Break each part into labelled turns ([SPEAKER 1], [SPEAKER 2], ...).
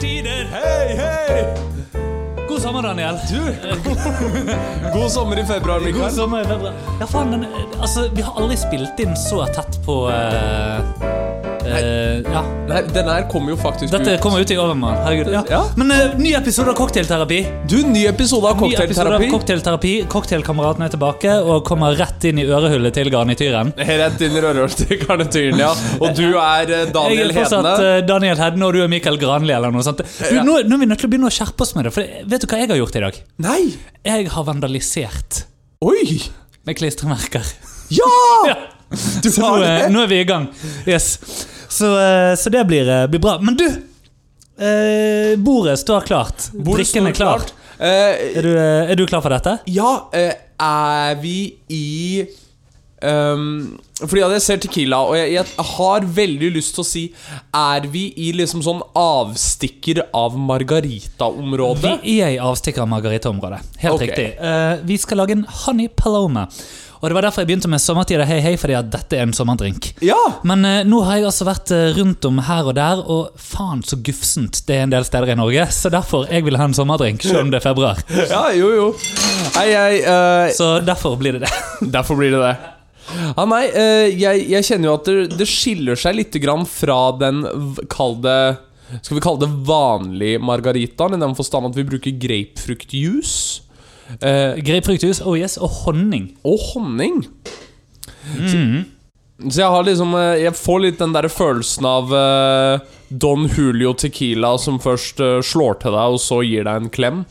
[SPEAKER 1] tider. Hei, hei!
[SPEAKER 2] God sommer, Daniel.
[SPEAKER 1] God sommer i februar,
[SPEAKER 2] God
[SPEAKER 1] Mikael.
[SPEAKER 2] sommer, Bebra. Ja, faen, den, altså, vi har aldri spilt inn så tett på eh, eh, Ja.
[SPEAKER 1] Nei, denne her kommer jo faktisk
[SPEAKER 2] Dette
[SPEAKER 1] ut.
[SPEAKER 2] kommer ut i overmann. Herregud. Mm. Ja.
[SPEAKER 1] Ja.
[SPEAKER 2] Men eh, ny episode av Cocktailterapi.
[SPEAKER 1] Du, ny episode av
[SPEAKER 2] Ny episode av
[SPEAKER 1] Cocktailterapi.
[SPEAKER 2] Cocktailterapi. Cocktailkameratene er tilbake og kommer rett inn i ørehullet til garnityren.
[SPEAKER 1] Rett inn i rørhåndstykkerne-tyren, ja. Og du er eh,
[SPEAKER 2] Jeg
[SPEAKER 1] Daniel
[SPEAKER 2] er fortsatt
[SPEAKER 1] Hedene.
[SPEAKER 2] eh, Daniel Hedne, og du er Mikael Granli eller noe sånt. Du, nå, nå er vi nødt til å begynne å skjerpe oss med det, for vet du hva jeg har gjort i dag?
[SPEAKER 1] Nei!
[SPEAKER 2] Jeg har vandalisert
[SPEAKER 1] Oi!
[SPEAKER 2] med klistremerker.
[SPEAKER 1] Ja!
[SPEAKER 2] Ja.
[SPEAKER 1] Du
[SPEAKER 2] Så nå,
[SPEAKER 1] har
[SPEAKER 2] eh,
[SPEAKER 1] det?
[SPEAKER 2] nå er vi i gang. Yes. Så, eh, så det blir, eh, blir bra. Men du! Eh, bordet står klart.
[SPEAKER 1] Bordet
[SPEAKER 2] Drikken er
[SPEAKER 1] står
[SPEAKER 2] klar.
[SPEAKER 1] klart. Eh,
[SPEAKER 2] Er du, eh, er du klar for dette?
[SPEAKER 1] Ja, eh, er vi i ehm, Fordi at jeg ser Tequila, og jeg, jeg har veldig lyst til å si Er vi i liksom sånn avstikker av Margarita-området?
[SPEAKER 2] Vi er i avstikker av Margarita-området. Helt
[SPEAKER 1] Ok.
[SPEAKER 2] riktig. Eh, vi skal lage en honey paloma. Og det var derfor jeg begynte med sommertida hei hei, fordi at dette er en sommerdrink.
[SPEAKER 1] Ja!
[SPEAKER 2] Men eh, nå har jeg altså vært eh, rundt om her og der, og faen så gufsent det er en del steder i Norge. Så derfor jeg vil ha en sommerdrink, selv om det er februar.
[SPEAKER 1] ja jo, jo. Nei, jeg eh,
[SPEAKER 2] Så derfor blir det det.
[SPEAKER 1] Derfor blir det det. Ah, nei, eh, jeg, jeg kjenner jo at det, det skiller seg litt grann fra den v- Kall det Skal vi kalle det vanlig margaritaen, i den forstand at vi bruker grapefruktjuice? Eh,
[SPEAKER 2] Grapefruktjuice, oh yes, og honning.
[SPEAKER 1] og honning. Så, så jeg har liksom eh, Jeg får litt den der følelsen av eh, Don Julio Tequila som først eh, slår til deg, og så gir deg en klem.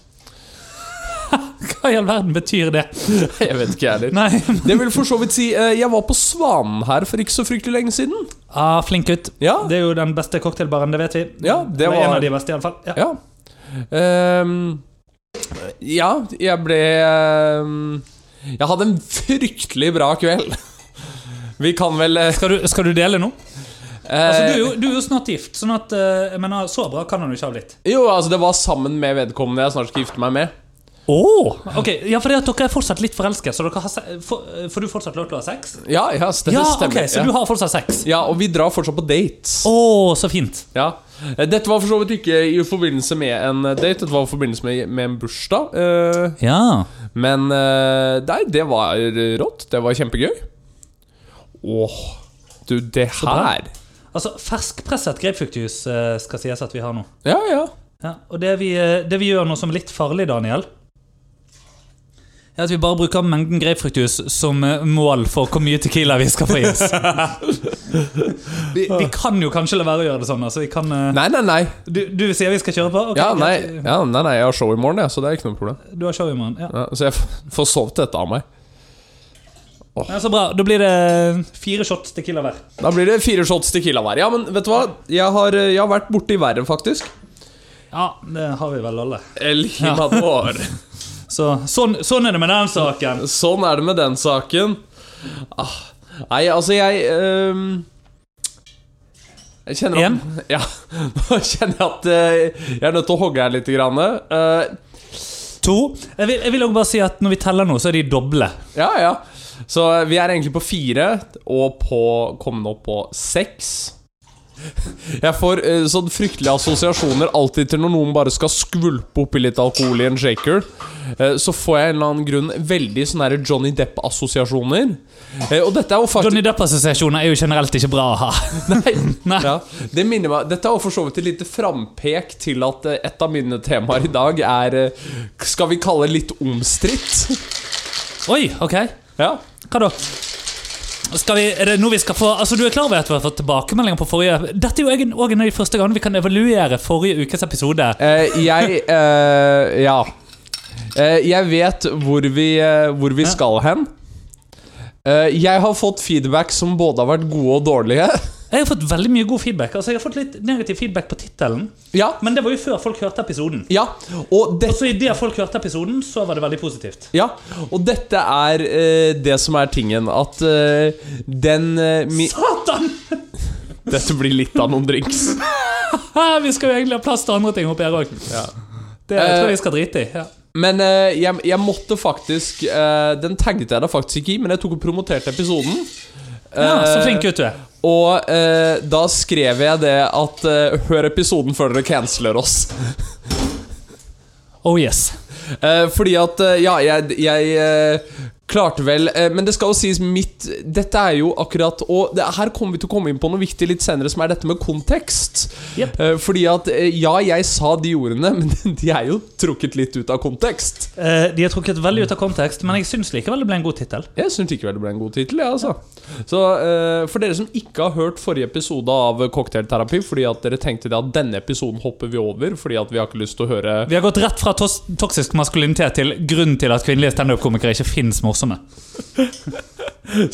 [SPEAKER 2] Hva i all verden betyr det?
[SPEAKER 1] Jeg vet ikke, jeg heller.
[SPEAKER 2] Nei.
[SPEAKER 1] Det vil for så vidt si eh, Jeg var på Svanen her for ikke så fryktelig lenge siden.
[SPEAKER 2] Ah, flink gutt.
[SPEAKER 1] Ja.
[SPEAKER 2] Det er jo den beste cocktailbaren, det vet vi.
[SPEAKER 1] Ja, det
[SPEAKER 2] er en
[SPEAKER 1] var-
[SPEAKER 2] av de beste, iallfall. Ja.
[SPEAKER 1] Ja. Ehm, ja, jeg ble ehm, Jeg hadde en fryktelig bra kveld. Vi kan vel eh,
[SPEAKER 2] Skal, du- skal du dele nå? Altså, du, er
[SPEAKER 1] eh,
[SPEAKER 2] jo, du er jo snart gift, sånn at eh, jeg mener, så bra kan han jo ikke ha blitt.
[SPEAKER 1] Jo, altså, det var sammen med vedkommende jeg snart skal gifte meg med.
[SPEAKER 2] Ok, ja, for det at Dere er fortsatt litt forelsket, så dere har se får- eh, får du fortsatt lov til å ha sex?
[SPEAKER 1] Ja, ja, det
[SPEAKER 2] Ja,
[SPEAKER 1] stemmer.
[SPEAKER 2] ok, Så
[SPEAKER 1] ja.
[SPEAKER 2] du har fortsatt sex?
[SPEAKER 1] ja, og vi drar fortsatt på dates.
[SPEAKER 2] Å, så fint.
[SPEAKER 1] Ja. Eh, Dette var for så vidt ikke i forbindelse med en eh, date, dette var i forbindelse med, med en bursdag. eh,
[SPEAKER 2] Ja.
[SPEAKER 1] Men eh, nei, det var eh, rått. Det var kjempegøy. Åh, du, det
[SPEAKER 2] bra.
[SPEAKER 1] her
[SPEAKER 2] Altså, Ferskpresset grapefruktjuice eh, skal sies at vi har nå.
[SPEAKER 1] Ja, ja.
[SPEAKER 2] Ja, og det vi, eh, det vi gjør nå som er litt farlig, Daniel er at vi bare bruker mengden grapefruktjuice som eh, mål for hvor mye tequila vi skal få i oss. vi, vi kan jo kanskje la være å gjøre det sånn. Altså, vi kan, eh,
[SPEAKER 1] Nei, nei, nei.
[SPEAKER 2] du, du sier vi skal kjøre på? Ok,
[SPEAKER 1] Ja, nei,
[SPEAKER 2] greit.
[SPEAKER 1] ja, nei, nei jeg har show i morgen, ja, så det er ikke noe problem.
[SPEAKER 2] Du har show i morgen. Ja.
[SPEAKER 1] Ja, så jeg f- får sovet dette av meg.
[SPEAKER 2] Ja, så bra. Da blir det eh, fire shots tequila hver.
[SPEAKER 1] Da blir det fire shots Tequila hver. Ja, men vet du hva? Jeg har, eh, jeg har vært borti verre, faktisk.
[SPEAKER 2] Ja, det har vi vel alle.
[SPEAKER 1] El Himador.
[SPEAKER 2] Så, sånn, sånn er det med den saken.
[SPEAKER 1] Sånn er det med den saken. Ah, nei, altså, jeg ehm, Jeg kjenner at
[SPEAKER 2] Igjen?
[SPEAKER 1] Ja. Nå kjenner jeg at eh, jeg er nødt til å hogge her litt. Grann. eh.
[SPEAKER 2] To. Jeg vil, jeg vil også bare si at når vi teller nå, så er de doble.
[SPEAKER 1] ja, ja. Så eh, vi er egentlig på fire, og på kommende opp på seks. Jeg får eh, sånn fryktelige assosiasjoner alltid til når noen bare skal skvulpe oppi litt alkohol i en shaker. Eh, så får jeg en eller annen grunn veldig sånne her Johnny Depp-assosiasjoner. Eh, og dette er jo faktisk
[SPEAKER 2] Johnny Depp-assosiasjoner er jo generelt ikke bra å ha.
[SPEAKER 1] Nei.
[SPEAKER 2] Nei.
[SPEAKER 1] Ja, det minner meg Dette er jo for så vidt et lite frampek til at eh, et av mine temaer i dag er eh, Skal vi kalle det litt omstridt?
[SPEAKER 2] Oi, ok.
[SPEAKER 1] Ja.
[SPEAKER 2] Hva da? Skal vi, er det nå vi skal få Altså Du er klar over at vi har fått tilbakemeldinger på forrige Dette er jo egen- også en av de første gangene vi kan evaluere forrige ukes episode.
[SPEAKER 1] Eh, jeg eh, Ja. Eh, jeg vet hvor vi, eh, hvor vi skal hen. Eh, jeg har fått feedback som både har vært gode og dårlige.
[SPEAKER 2] Jeg har fått veldig mye god feedback. Altså Jeg har fått litt negativ feedback på tittelen,
[SPEAKER 1] Ja.
[SPEAKER 2] men det var jo før folk hørte episoden.
[SPEAKER 1] ja. Og det
[SPEAKER 2] Og så idet folk hørte episoden, så var det veldig positivt.
[SPEAKER 1] ja, og dette er eh, det som er tingen, at eh, den eh, mi
[SPEAKER 2] Satan!
[SPEAKER 1] Dette blir litt av noen drinks.
[SPEAKER 2] Ah, vi skal jo egentlig ha plass til andre ting oppi her òg. Det tror jeg vi skal drite i. Ja.
[SPEAKER 1] Men eh, jeg, jeg måtte faktisk eh, Den tagget jeg da faktisk ikke i, men jeg tok og promoterte episoden.
[SPEAKER 2] Ja, så
[SPEAKER 1] Eh,
[SPEAKER 2] flink gutt du er.
[SPEAKER 1] Og eh, da skrev jeg det at eh, Hør episoden før dere canceler oss.
[SPEAKER 2] Oh yes.
[SPEAKER 1] Eh, fordi at eh, Ja, jeg, jeg eh, klarte vel eh, Men det skal jo sies mitt Dette er jo akkurat Og det, her kommer vi til å komme inn på noe viktig litt senere, som er dette med kontekst.
[SPEAKER 2] Jep.
[SPEAKER 1] Eh, fordi at eh, Ja, jeg sa de ordene, men de er jo trukket litt ut av kontekst.
[SPEAKER 2] Eh, de har trukket veldig ut av kontekst, men jeg syns likevel det ble en god tittel.
[SPEAKER 1] Jeg syns likevel det ble en god tittel, jeg, altså. Så eh, for dere som ikke har hørt forrige episode av Cocktailterapi fordi at dere tenkte det at denne episoden hopper vi over fordi at vi har ikke lyst til å høre
[SPEAKER 2] Vi har gått rett fra tos toksisk maskulinitet til grunnen til at kvinnelige standup-komikere ikke finnes morsomme.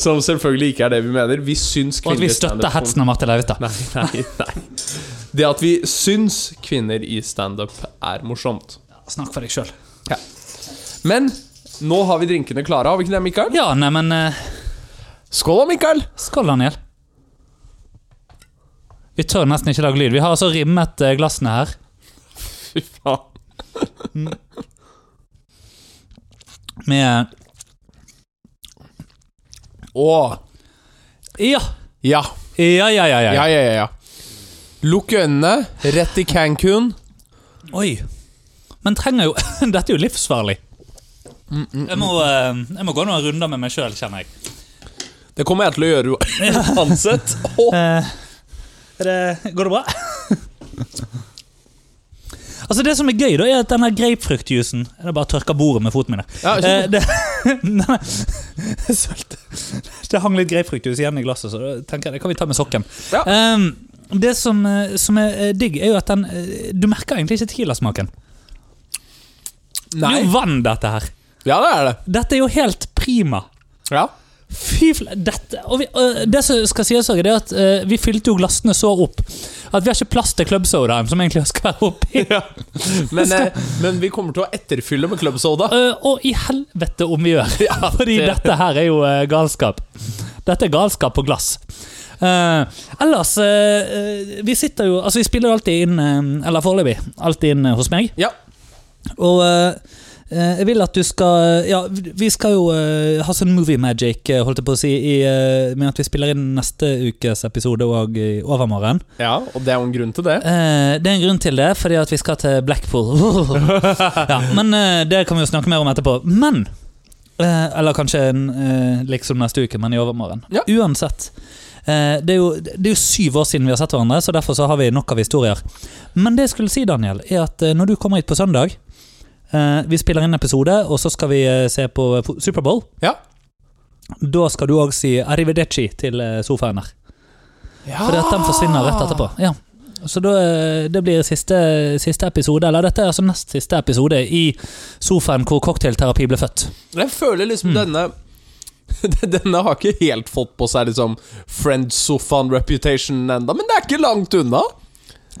[SPEAKER 1] Som selvfølgelig ikke er det vi mener. Vi syns
[SPEAKER 2] Og at vi
[SPEAKER 1] kvinner i
[SPEAKER 2] støtter
[SPEAKER 1] standup-
[SPEAKER 2] hetsen av Martin Leivestad.
[SPEAKER 1] Nei, nei, nei. Det at vi syns kvinner i standup er morsomt.
[SPEAKER 2] Snakk for deg sjøl.
[SPEAKER 1] Men nå har vi drinkene klare, har vi ikke det, Mikael?
[SPEAKER 2] Ja, neimen uh,
[SPEAKER 1] Skål da, Mikael!
[SPEAKER 2] Skål, Daniel. Vi tør nesten ikke lage lyd. Vi har altså rimmet eh, glassene her.
[SPEAKER 1] Fy faen.
[SPEAKER 2] Med
[SPEAKER 1] Å.
[SPEAKER 2] Ja!
[SPEAKER 1] Ja.
[SPEAKER 2] Ja, ja, ja. ja.
[SPEAKER 1] Ja, ja, ja, ja. Lukk øynene, rett i Cancún.
[SPEAKER 2] Oi. Men trenger jo Dette er jo livsfarlig. Jeg må, eh, jeg må gå noen runder med meg sjøl, kjenner jeg.
[SPEAKER 1] Det kommer jeg til å gjøre uansett. Å.
[SPEAKER 2] Eh, er det, går det bra? altså Det som er gøy, da er at denne grapefruktjuicen Jeg bare tørker bordet med fotene mine.
[SPEAKER 1] Ja,
[SPEAKER 2] Eh, det, Nei, jeg sølte. det hang litt grapefruktjuice igjen i glasset, så da tenker jeg, det kan vi ta med sokken.
[SPEAKER 1] Ja.
[SPEAKER 2] Ehm, det som, eh, som er eh, digg, er jo at den eh, Du merker egentlig ikke Tequila-smaken. Det
[SPEAKER 1] Nei.
[SPEAKER 2] er jo vann, dette her.
[SPEAKER 1] Ja, det er det.
[SPEAKER 2] Dette er jo helt prima.
[SPEAKER 1] Ja.
[SPEAKER 2] Fy fla... Dette og vi, øh, Det som skal sies, også, det er at øh, vi fylte jo glassene så opp at vi har ikke plass til clubsodaen, som egentlig skal være oppi.
[SPEAKER 1] Men, eh, men vi kommer til å etterfylle med club soda.
[SPEAKER 2] Øh, og i helvete om vi gjør! Fordi
[SPEAKER 1] det-
[SPEAKER 2] dette her er jo øh, galskap. Dette er galskap på glass. Eh, ellers øh, øh, Vi sitter jo Altså, vi spiller jo alltid inn, øh, eller foreløpig, alltid inn øh, hos meg.
[SPEAKER 1] Ja.
[SPEAKER 2] Og eh, eh, jeg vil at du skal eh, Ja, vi skal jo eh, ha sånn movie magic, eh, holdt jeg på å si, i, eh, med at vi spiller inn neste ukes episode og i overmorgen.
[SPEAKER 1] ja, og det er jo en grunn til det.
[SPEAKER 2] Eh, det er en grunn til det, fordi at vi skal til Blackpool. ja, men eh, det kan vi jo snakke mer om etterpå. Men eh, Eller kanskje en, eh, liksom neste uke, men i overmorgen.
[SPEAKER 1] Ja.
[SPEAKER 2] Uansett. eh, det, er jo, det er jo syv år siden vi har sett hverandre, så derfor så har vi nok av historier. Men det jeg skulle si, Daniel, er at eh, når du kommer hit på søndag eh, Vi spiller inn episode, og så skal vi eh, se på eh, fo- Superbowl.
[SPEAKER 1] Ja.
[SPEAKER 2] Da skal du òg si arrivederci til eh, sofaen her.
[SPEAKER 1] ja.
[SPEAKER 2] Fordi at den forsvinner rett etterpå. Ja. Så da, eh, det blir siste, siste episode, eller dette er altså nest siste episode i sofaen hvor cocktailterapi ble født.
[SPEAKER 1] Jeg føler liksom denne Denne har ikke helt fått på seg liksom friendsofaen reputation enda Men det er ikke langt unna.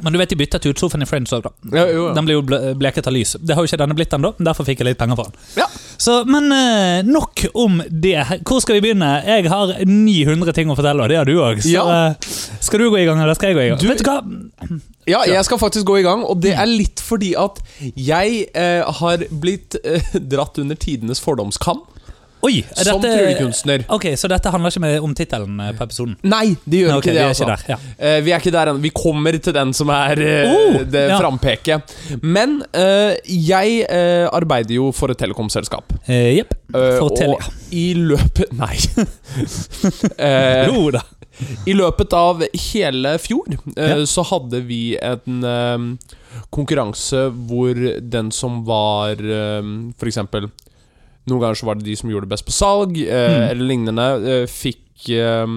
[SPEAKER 2] Men du vet de byttet ut sofaen i Friends òg, da.
[SPEAKER 1] Ja, jo, ja.
[SPEAKER 2] Den ble jo ble- bleket av lys. Det har jo ikke denne blitt ennå, derfor fikk jeg litt penger for den.
[SPEAKER 1] Ja.
[SPEAKER 2] Så, men eh, nok om det. Hvor skal vi begynne? Jeg har 900 ting å fortelle, og det har du òg. Så
[SPEAKER 1] Ja.
[SPEAKER 2] eh, skal du gå i gang, eller skal jeg gå i gang? vet du hva?
[SPEAKER 1] Ja, Mm. jeg skal faktisk gå i gang, og det er litt fordi at jeg eh, har blitt eh, dratt under tidenes fordomskam
[SPEAKER 2] Oi! er
[SPEAKER 1] som tryllekunstner.
[SPEAKER 2] Ok, Så dette handler ikke med- om tittelen eh, på episoden?
[SPEAKER 1] Nei, det gjør
[SPEAKER 2] Nei, ok,
[SPEAKER 1] ikke det.
[SPEAKER 2] vi er
[SPEAKER 1] altså.
[SPEAKER 2] ikke der, ja.
[SPEAKER 1] Eh, vi er ikke der ennå. Vi kommer til den som er eh,
[SPEAKER 2] Oh,
[SPEAKER 1] det
[SPEAKER 2] ja.
[SPEAKER 1] frampeket. Men eh, jeg eh, arbeider jo for et telekomselskap.
[SPEAKER 2] Eh, Jepp.
[SPEAKER 1] Eh,
[SPEAKER 2] Fortell, ja.
[SPEAKER 1] og i løpet Nei. Eh,
[SPEAKER 2] Jo da.
[SPEAKER 1] I løpet av hele fjor eh,
[SPEAKER 2] Ja.
[SPEAKER 1] så hadde vi en eh, konkurranse hvor den som var eh, For eksempel Noen ganger så var det de som gjorde det best på salg, eh,
[SPEAKER 2] Mm.
[SPEAKER 1] eller lignende, eh, fikk eh,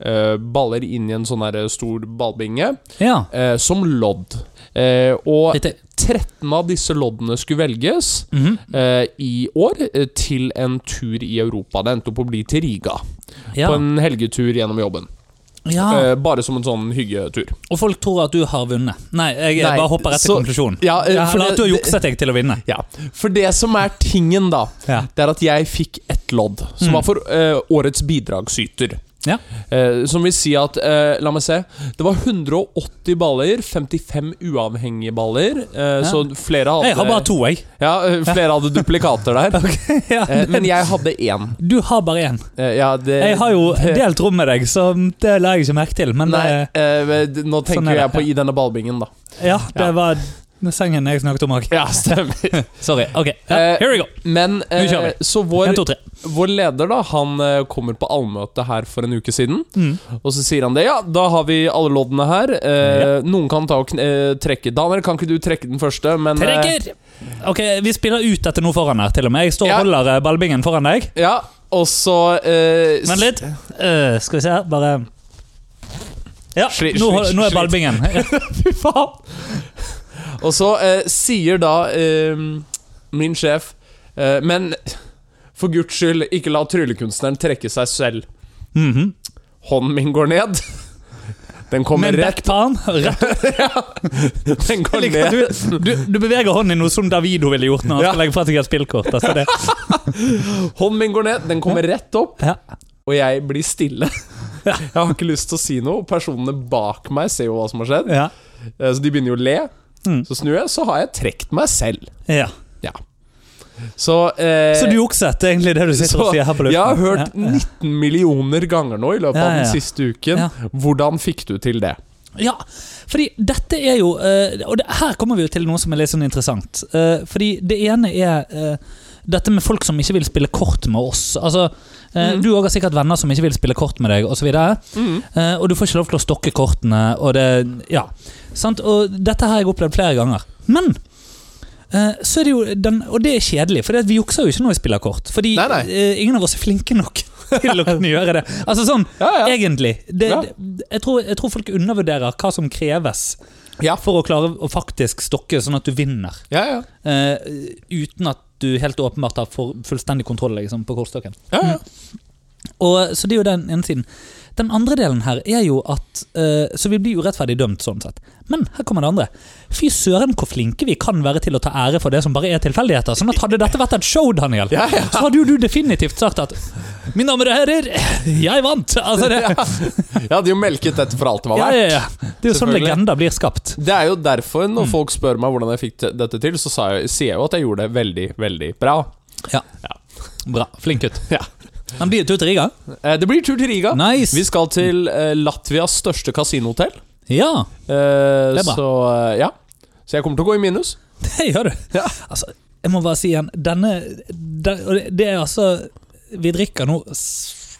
[SPEAKER 1] eh, baller inn i en sånn her stor ballbinge
[SPEAKER 2] Ja.
[SPEAKER 1] eh, som lodd. Eh, og
[SPEAKER 2] Litt,
[SPEAKER 1] 13 av disse loddene skulle velges
[SPEAKER 2] Mhm.
[SPEAKER 1] eh, i år eh, til en tur i Europa. Det endte opp å bli til Riga,
[SPEAKER 2] ja.
[SPEAKER 1] på en helgetur gjennom jobben.
[SPEAKER 2] ja.
[SPEAKER 1] Eh, bare som en sånn hyggetur.
[SPEAKER 2] Og folk tror at du har vunnet. Nei, jeg
[SPEAKER 1] Nei,
[SPEAKER 2] bare hopper rett til
[SPEAKER 1] så-
[SPEAKER 2] konklusjonen.
[SPEAKER 1] Ja, eh, for
[SPEAKER 2] Eller
[SPEAKER 1] det-
[SPEAKER 2] at du har
[SPEAKER 1] det-
[SPEAKER 2] jukset deg til å vinne.
[SPEAKER 1] Ja, For det som er tingen, da,
[SPEAKER 2] Ja.
[SPEAKER 1] det er at jeg fikk ett lodd, som
[SPEAKER 2] Mm.
[SPEAKER 1] var for eh, årets bidragsyter.
[SPEAKER 2] Ja.
[SPEAKER 1] Eh, som vil si at eh, La meg se. Det var 180 baller. 55 uavhengige baller. Eh, Så flere hadde
[SPEAKER 2] Jeg har bare to, jeg.
[SPEAKER 1] Ja, eh, flere hadde duplikater der.
[SPEAKER 2] Ja,
[SPEAKER 1] Eh, men jeg hadde én.
[SPEAKER 2] du har bare én.
[SPEAKER 1] Eh, ja, det
[SPEAKER 2] Jeg har jo delt rom med deg, så det la jeg ikke merke til. Men
[SPEAKER 1] Nei,
[SPEAKER 2] eh,
[SPEAKER 1] eh, men d- nå tenker
[SPEAKER 2] sånn er det,
[SPEAKER 1] jeg på i denne ballbingen, da.
[SPEAKER 2] ja, det
[SPEAKER 1] ja.
[SPEAKER 2] var sengen jeg snakket om òg.
[SPEAKER 1] Ja, stemmer.
[SPEAKER 2] Sorry. Ok, ja,
[SPEAKER 1] Eh,
[SPEAKER 2] here we go.
[SPEAKER 1] Men eh,
[SPEAKER 2] Nå kjører
[SPEAKER 1] så
[SPEAKER 2] En,
[SPEAKER 1] vår,
[SPEAKER 2] to, tre.
[SPEAKER 1] vår leder, da, han eh, kommer på allmøte her for en uke siden.
[SPEAKER 2] Mm.
[SPEAKER 1] Og så sier han det. Ja, da har vi alle loddene her. Eh, Noen kan ta og kn eh, trekke. Daniel, kan ikke du trekke den første? Men, eh,
[SPEAKER 2] Trekker! Ok, Vi spiller ut dette nå foran her, til og med. Jeg står og
[SPEAKER 1] Ja.
[SPEAKER 2] holder eh, ballbingen foran deg.
[SPEAKER 1] ja, og så eh,
[SPEAKER 2] Vent litt. Eh, skal vi se her, bare Ja,
[SPEAKER 1] Sli-
[SPEAKER 2] nå,
[SPEAKER 1] sli-
[SPEAKER 2] nå
[SPEAKER 1] sli-
[SPEAKER 2] er ballbingen. Fy faen!
[SPEAKER 1] Og så eh, sier da eh, min sjef eh, Men for guds skyld, ikke la tryllekunstneren trekke seg selv.
[SPEAKER 2] Mhm.
[SPEAKER 1] Hånden min går ned. Den kommer
[SPEAKER 2] Med
[SPEAKER 1] rett
[SPEAKER 2] backpalm. Rett
[SPEAKER 1] Den går
[SPEAKER 2] Jeg liker at
[SPEAKER 1] ned.
[SPEAKER 2] du, du, du beveger hånden i noe som Davido ville gjort når han
[SPEAKER 1] Ja.
[SPEAKER 2] skal legge fra seg et spillkort. Altså det.
[SPEAKER 1] Hånden min går ned, den kommer rett opp,
[SPEAKER 2] Ja.
[SPEAKER 1] og jeg blir stille. Jeg har ikke lyst til å si noe. Personene bak meg ser jo hva som har skjedd,
[SPEAKER 2] Ja.
[SPEAKER 1] Eh, så de begynner jo å le.
[SPEAKER 2] Mm.
[SPEAKER 1] Så snur jeg, så har jeg trukket meg selv.
[SPEAKER 2] Ja.
[SPEAKER 1] Ja. Så, eh,
[SPEAKER 2] Så du jukset, det er egentlig det du sitter
[SPEAKER 1] så
[SPEAKER 2] og sier her på luften?
[SPEAKER 1] jeg har hørt
[SPEAKER 2] ja,
[SPEAKER 1] 19 millioner ganger nå i løpet
[SPEAKER 2] Ja,
[SPEAKER 1] av
[SPEAKER 2] ja,
[SPEAKER 1] den
[SPEAKER 2] ja.
[SPEAKER 1] siste uken.
[SPEAKER 2] Ja.
[SPEAKER 1] Hvordan fikk du til det?
[SPEAKER 2] ja. fordi dette er jo eh, Og det, her kommer vi jo til noe som er litt sånn interessant. Eh, fordi det ene er eh, dette med folk som ikke vil spille kort med oss. Altså, eh,
[SPEAKER 1] Mm.
[SPEAKER 2] Du også har sikkert venner som ikke vil spille kort med deg, osv.
[SPEAKER 1] Mm.
[SPEAKER 2] Eh, og du får ikke lov til å stokke kortene, og det Ja. Sant? Og dette har jeg opplevd flere ganger. Men eh, så er det jo den, Og det er kjedelig, for vi jukser jo ikke når vi spiller kort. Fordi
[SPEAKER 1] Nei, nei.
[SPEAKER 2] eh, ingen av oss er flinke nok til å kunne gjøre det. Altså sånn,
[SPEAKER 1] Ja, ja.
[SPEAKER 2] egentlig. Det,
[SPEAKER 1] Ja.
[SPEAKER 2] det, jeg, tror, jeg tror folk undervurderer hva som kreves
[SPEAKER 1] Ja.
[SPEAKER 2] for å klare å faktisk stokke, sånn at du vinner.
[SPEAKER 1] Ja, ja.
[SPEAKER 2] eh, uten at du helt åpenbart har for, fullstendig kontroll liksom, på kortstokken.
[SPEAKER 1] ja, ja.
[SPEAKER 2] Og, så det er jo den ene siden. Den andre delen her er jo at eh, Så vi blir urettferdig dømt, sånn sett. Men her kommer det andre. Fy søren hvor flinke vi kan være til å ta ære for det som bare er tilfeldigheter. Sånn at hadde dette vært et show, Daniel,
[SPEAKER 1] Ja, ja.
[SPEAKER 2] så hadde jo du definitivt sagt at Mine damer og herrer, jeg vant! Altså det, ja,
[SPEAKER 1] Jeg hadde jo melket dette for alt det var
[SPEAKER 2] ja,
[SPEAKER 1] verdt.
[SPEAKER 2] ja. Det er jo sånn
[SPEAKER 1] Selvfølgelig.
[SPEAKER 2] legender blir skapt.
[SPEAKER 1] Det er jo derfor når
[SPEAKER 2] Mm.
[SPEAKER 1] folk spør meg hvordan jeg fikk te- dette til, så sa jeg, sier jeg jo at jeg gjorde det veldig, veldig bra.
[SPEAKER 2] Ja. Bra. Flink gutt.
[SPEAKER 1] Ja.
[SPEAKER 2] Han blir jo tur til Riga.
[SPEAKER 1] Eh, Det blir tur til Riga.
[SPEAKER 2] Nice.
[SPEAKER 1] Vi skal til eh, Latvias største kasinohotell.
[SPEAKER 2] Ja,
[SPEAKER 1] Eh,
[SPEAKER 2] Det er bra.
[SPEAKER 1] så eh, ja. Så jeg kommer til å gå i minus.
[SPEAKER 2] det gjør du.
[SPEAKER 1] Ja.
[SPEAKER 2] Altså, jeg må bare si igjen, denne den, og det- Det er altså Vi drikker nå s-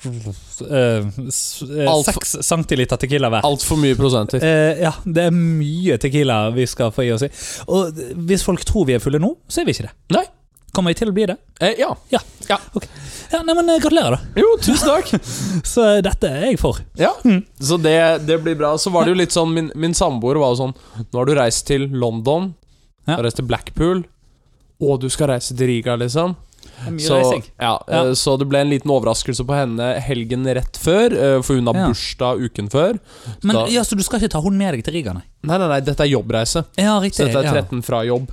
[SPEAKER 2] eh, s- eh,
[SPEAKER 1] Alt for-
[SPEAKER 2] seks centiliter tequila hver.
[SPEAKER 1] Altfor mye prosenter.
[SPEAKER 2] Eh, ja, det er mye tequila vi skal få i oss i. Og hvis folk tror vi er fulle nå, så er vi ikke det.
[SPEAKER 1] Nei.
[SPEAKER 2] Kommer vi til å bli det?
[SPEAKER 1] Eh, ja.
[SPEAKER 2] Ja.
[SPEAKER 1] Ja.
[SPEAKER 2] Ok. ja nei, men eh, gratulerer, da.
[SPEAKER 1] Jo, tusen takk.
[SPEAKER 2] Så eh, dette er jeg for.
[SPEAKER 1] Ja. Så det, det blir bra. Så var det jo litt sånn Min, min samboer var jo sånn Nå har du reist til London, du
[SPEAKER 2] Ja.
[SPEAKER 1] har reist til Blackpool, og du skal reise til Riga, liksom. Så,
[SPEAKER 2] Så,
[SPEAKER 1] ja,
[SPEAKER 2] Ja.
[SPEAKER 1] eh, så det ble en liten overraskelse på henne helgen rett før, eh, for hun har
[SPEAKER 2] Ja.
[SPEAKER 1] bursdag uken før.
[SPEAKER 2] men
[SPEAKER 1] da-
[SPEAKER 2] ja, så du skal ikke ta hun med deg til Riga, nei?
[SPEAKER 1] Nei, nei, nei, dette er jobbreise.
[SPEAKER 2] Ja,
[SPEAKER 1] Så
[SPEAKER 2] riktig.
[SPEAKER 1] dette er
[SPEAKER 2] ja.
[SPEAKER 1] 13 fra jobb.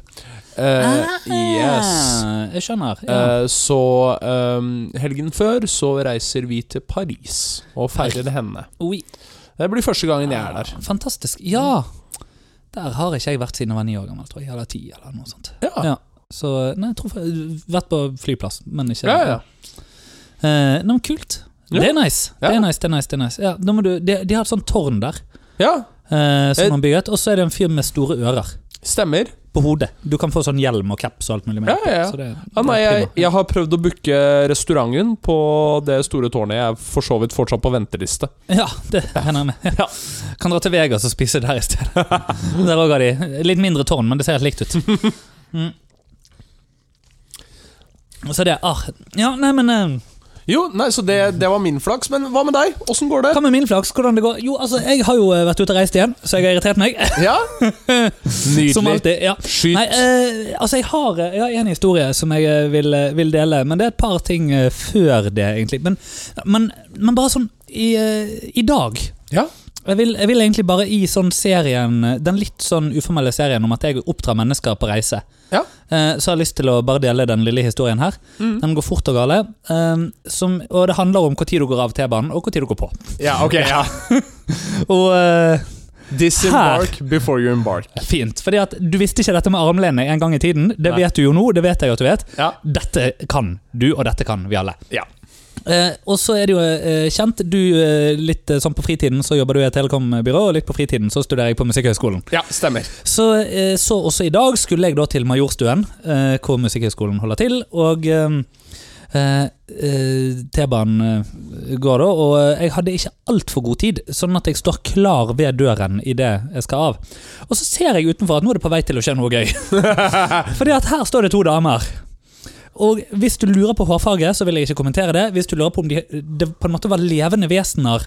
[SPEAKER 1] Eh, yes.
[SPEAKER 2] Ah, Jeg skjønner. Ja.
[SPEAKER 1] Eh, så eh, helgen før så reiser vi til Paris og feirer henne.
[SPEAKER 2] Oi.
[SPEAKER 1] Det blir første gangen jeg er der.
[SPEAKER 2] Fantastisk. Ja! Der har ikke jeg vært siden jeg var ni år gammel, tror jeg. Eller ti, eller noe sånt.
[SPEAKER 1] Ja,
[SPEAKER 2] Ja. Så nei, jeg tror jeg vært på flyplass, men ikke
[SPEAKER 1] ja, ja.
[SPEAKER 2] Eh, nei, men kult.
[SPEAKER 1] Ja.
[SPEAKER 2] Det er nice.
[SPEAKER 1] Ja.
[SPEAKER 2] Det er nice, det er nice. det er nice. Ja, da må du, de, de har et sånt tårn der
[SPEAKER 1] ja
[SPEAKER 2] eh, som
[SPEAKER 1] Eh.
[SPEAKER 2] man bygget, og så er det en fyr med store ører
[SPEAKER 1] stemmer.
[SPEAKER 2] på hodet. Du kan få sånn hjelm og caps og alt mulig mer.
[SPEAKER 1] Ja, ja, ja.
[SPEAKER 2] Så det,
[SPEAKER 1] Ja, nei,
[SPEAKER 2] det er
[SPEAKER 1] jeg,
[SPEAKER 2] prima.
[SPEAKER 1] jeg har prøvd å booke restauranten på det store tårnet. Jeg er for så vidt fortsatt på venteliste.
[SPEAKER 2] Ja, det hender jeg med. Ja. Kan dra til Vegas og spise der i stedet. Der òg har de litt mindre tårn, men det ser helt likt ut. Mm. Så det ah, Ja, nei, men eh,
[SPEAKER 1] Jo, nei, så det, det var min flaks, men hva med deg? Åssen går det?
[SPEAKER 2] Hva med min flaks? Hvordan det går? Jo, altså, jeg har jo eh, vært ute og reist igjen, så jeg har irritert meg.
[SPEAKER 1] Ja?
[SPEAKER 2] Som
[SPEAKER 1] Nydelig.
[SPEAKER 2] alltid. ja
[SPEAKER 1] Skyt.
[SPEAKER 2] Nei, eh, altså jeg har, jeg har en historie som jeg eh, vil, eh, vil dele, men det er et par ting eh, før det, egentlig. Men, men, men bare sånn i, eh, i dag
[SPEAKER 1] Ja.
[SPEAKER 2] Jeg vil, jeg vil egentlig bare i sånn serien, den litt sånn uformelle serien om at jeg oppdrar mennesker på reise,
[SPEAKER 1] Ja.
[SPEAKER 2] eh, så har jeg lyst til å bare dele den lille historien her.
[SPEAKER 1] Mm.
[SPEAKER 2] Den går fort og gale. eh, som, og det handler om når du går av T-banen, og når du går på.
[SPEAKER 1] Ja, ok, ja.
[SPEAKER 2] Og eh,
[SPEAKER 1] Disembark before you embark.
[SPEAKER 2] fint, fordi at du visste ikke dette med armlene en gang i tiden. Det
[SPEAKER 1] Nei.
[SPEAKER 2] vet du jo nå, det vet jeg jo at du vet.
[SPEAKER 1] Ja.
[SPEAKER 2] Dette kan du, og dette kan vi alle.
[SPEAKER 1] Ja.
[SPEAKER 2] Eh, og så er det jo eh, kjent, du eh, litt eh, sånn på fritiden så jobber du i et telekombyrå, og litt på fritiden så studerer jeg på Musikkhøgskolen.
[SPEAKER 1] ja, stemmer.
[SPEAKER 2] Så, eh, så også i dag skulle jeg da til Majorstuen, eh, hvor Musikkhøgskolen holder til, og eh, eh, eh, T-banen eh, går da, og eh, jeg hadde ikke altfor god tid, sånn at jeg står klar ved døren idet jeg skal av. Og så ser jeg utenfor at nå er det på vei til å skje noe gøy. Fordi at her står det to damer. Og hvis du lurer på hårfarge, så vil jeg ikke kommentere det. Hvis du lurer på om de, det på en måte var levende vesener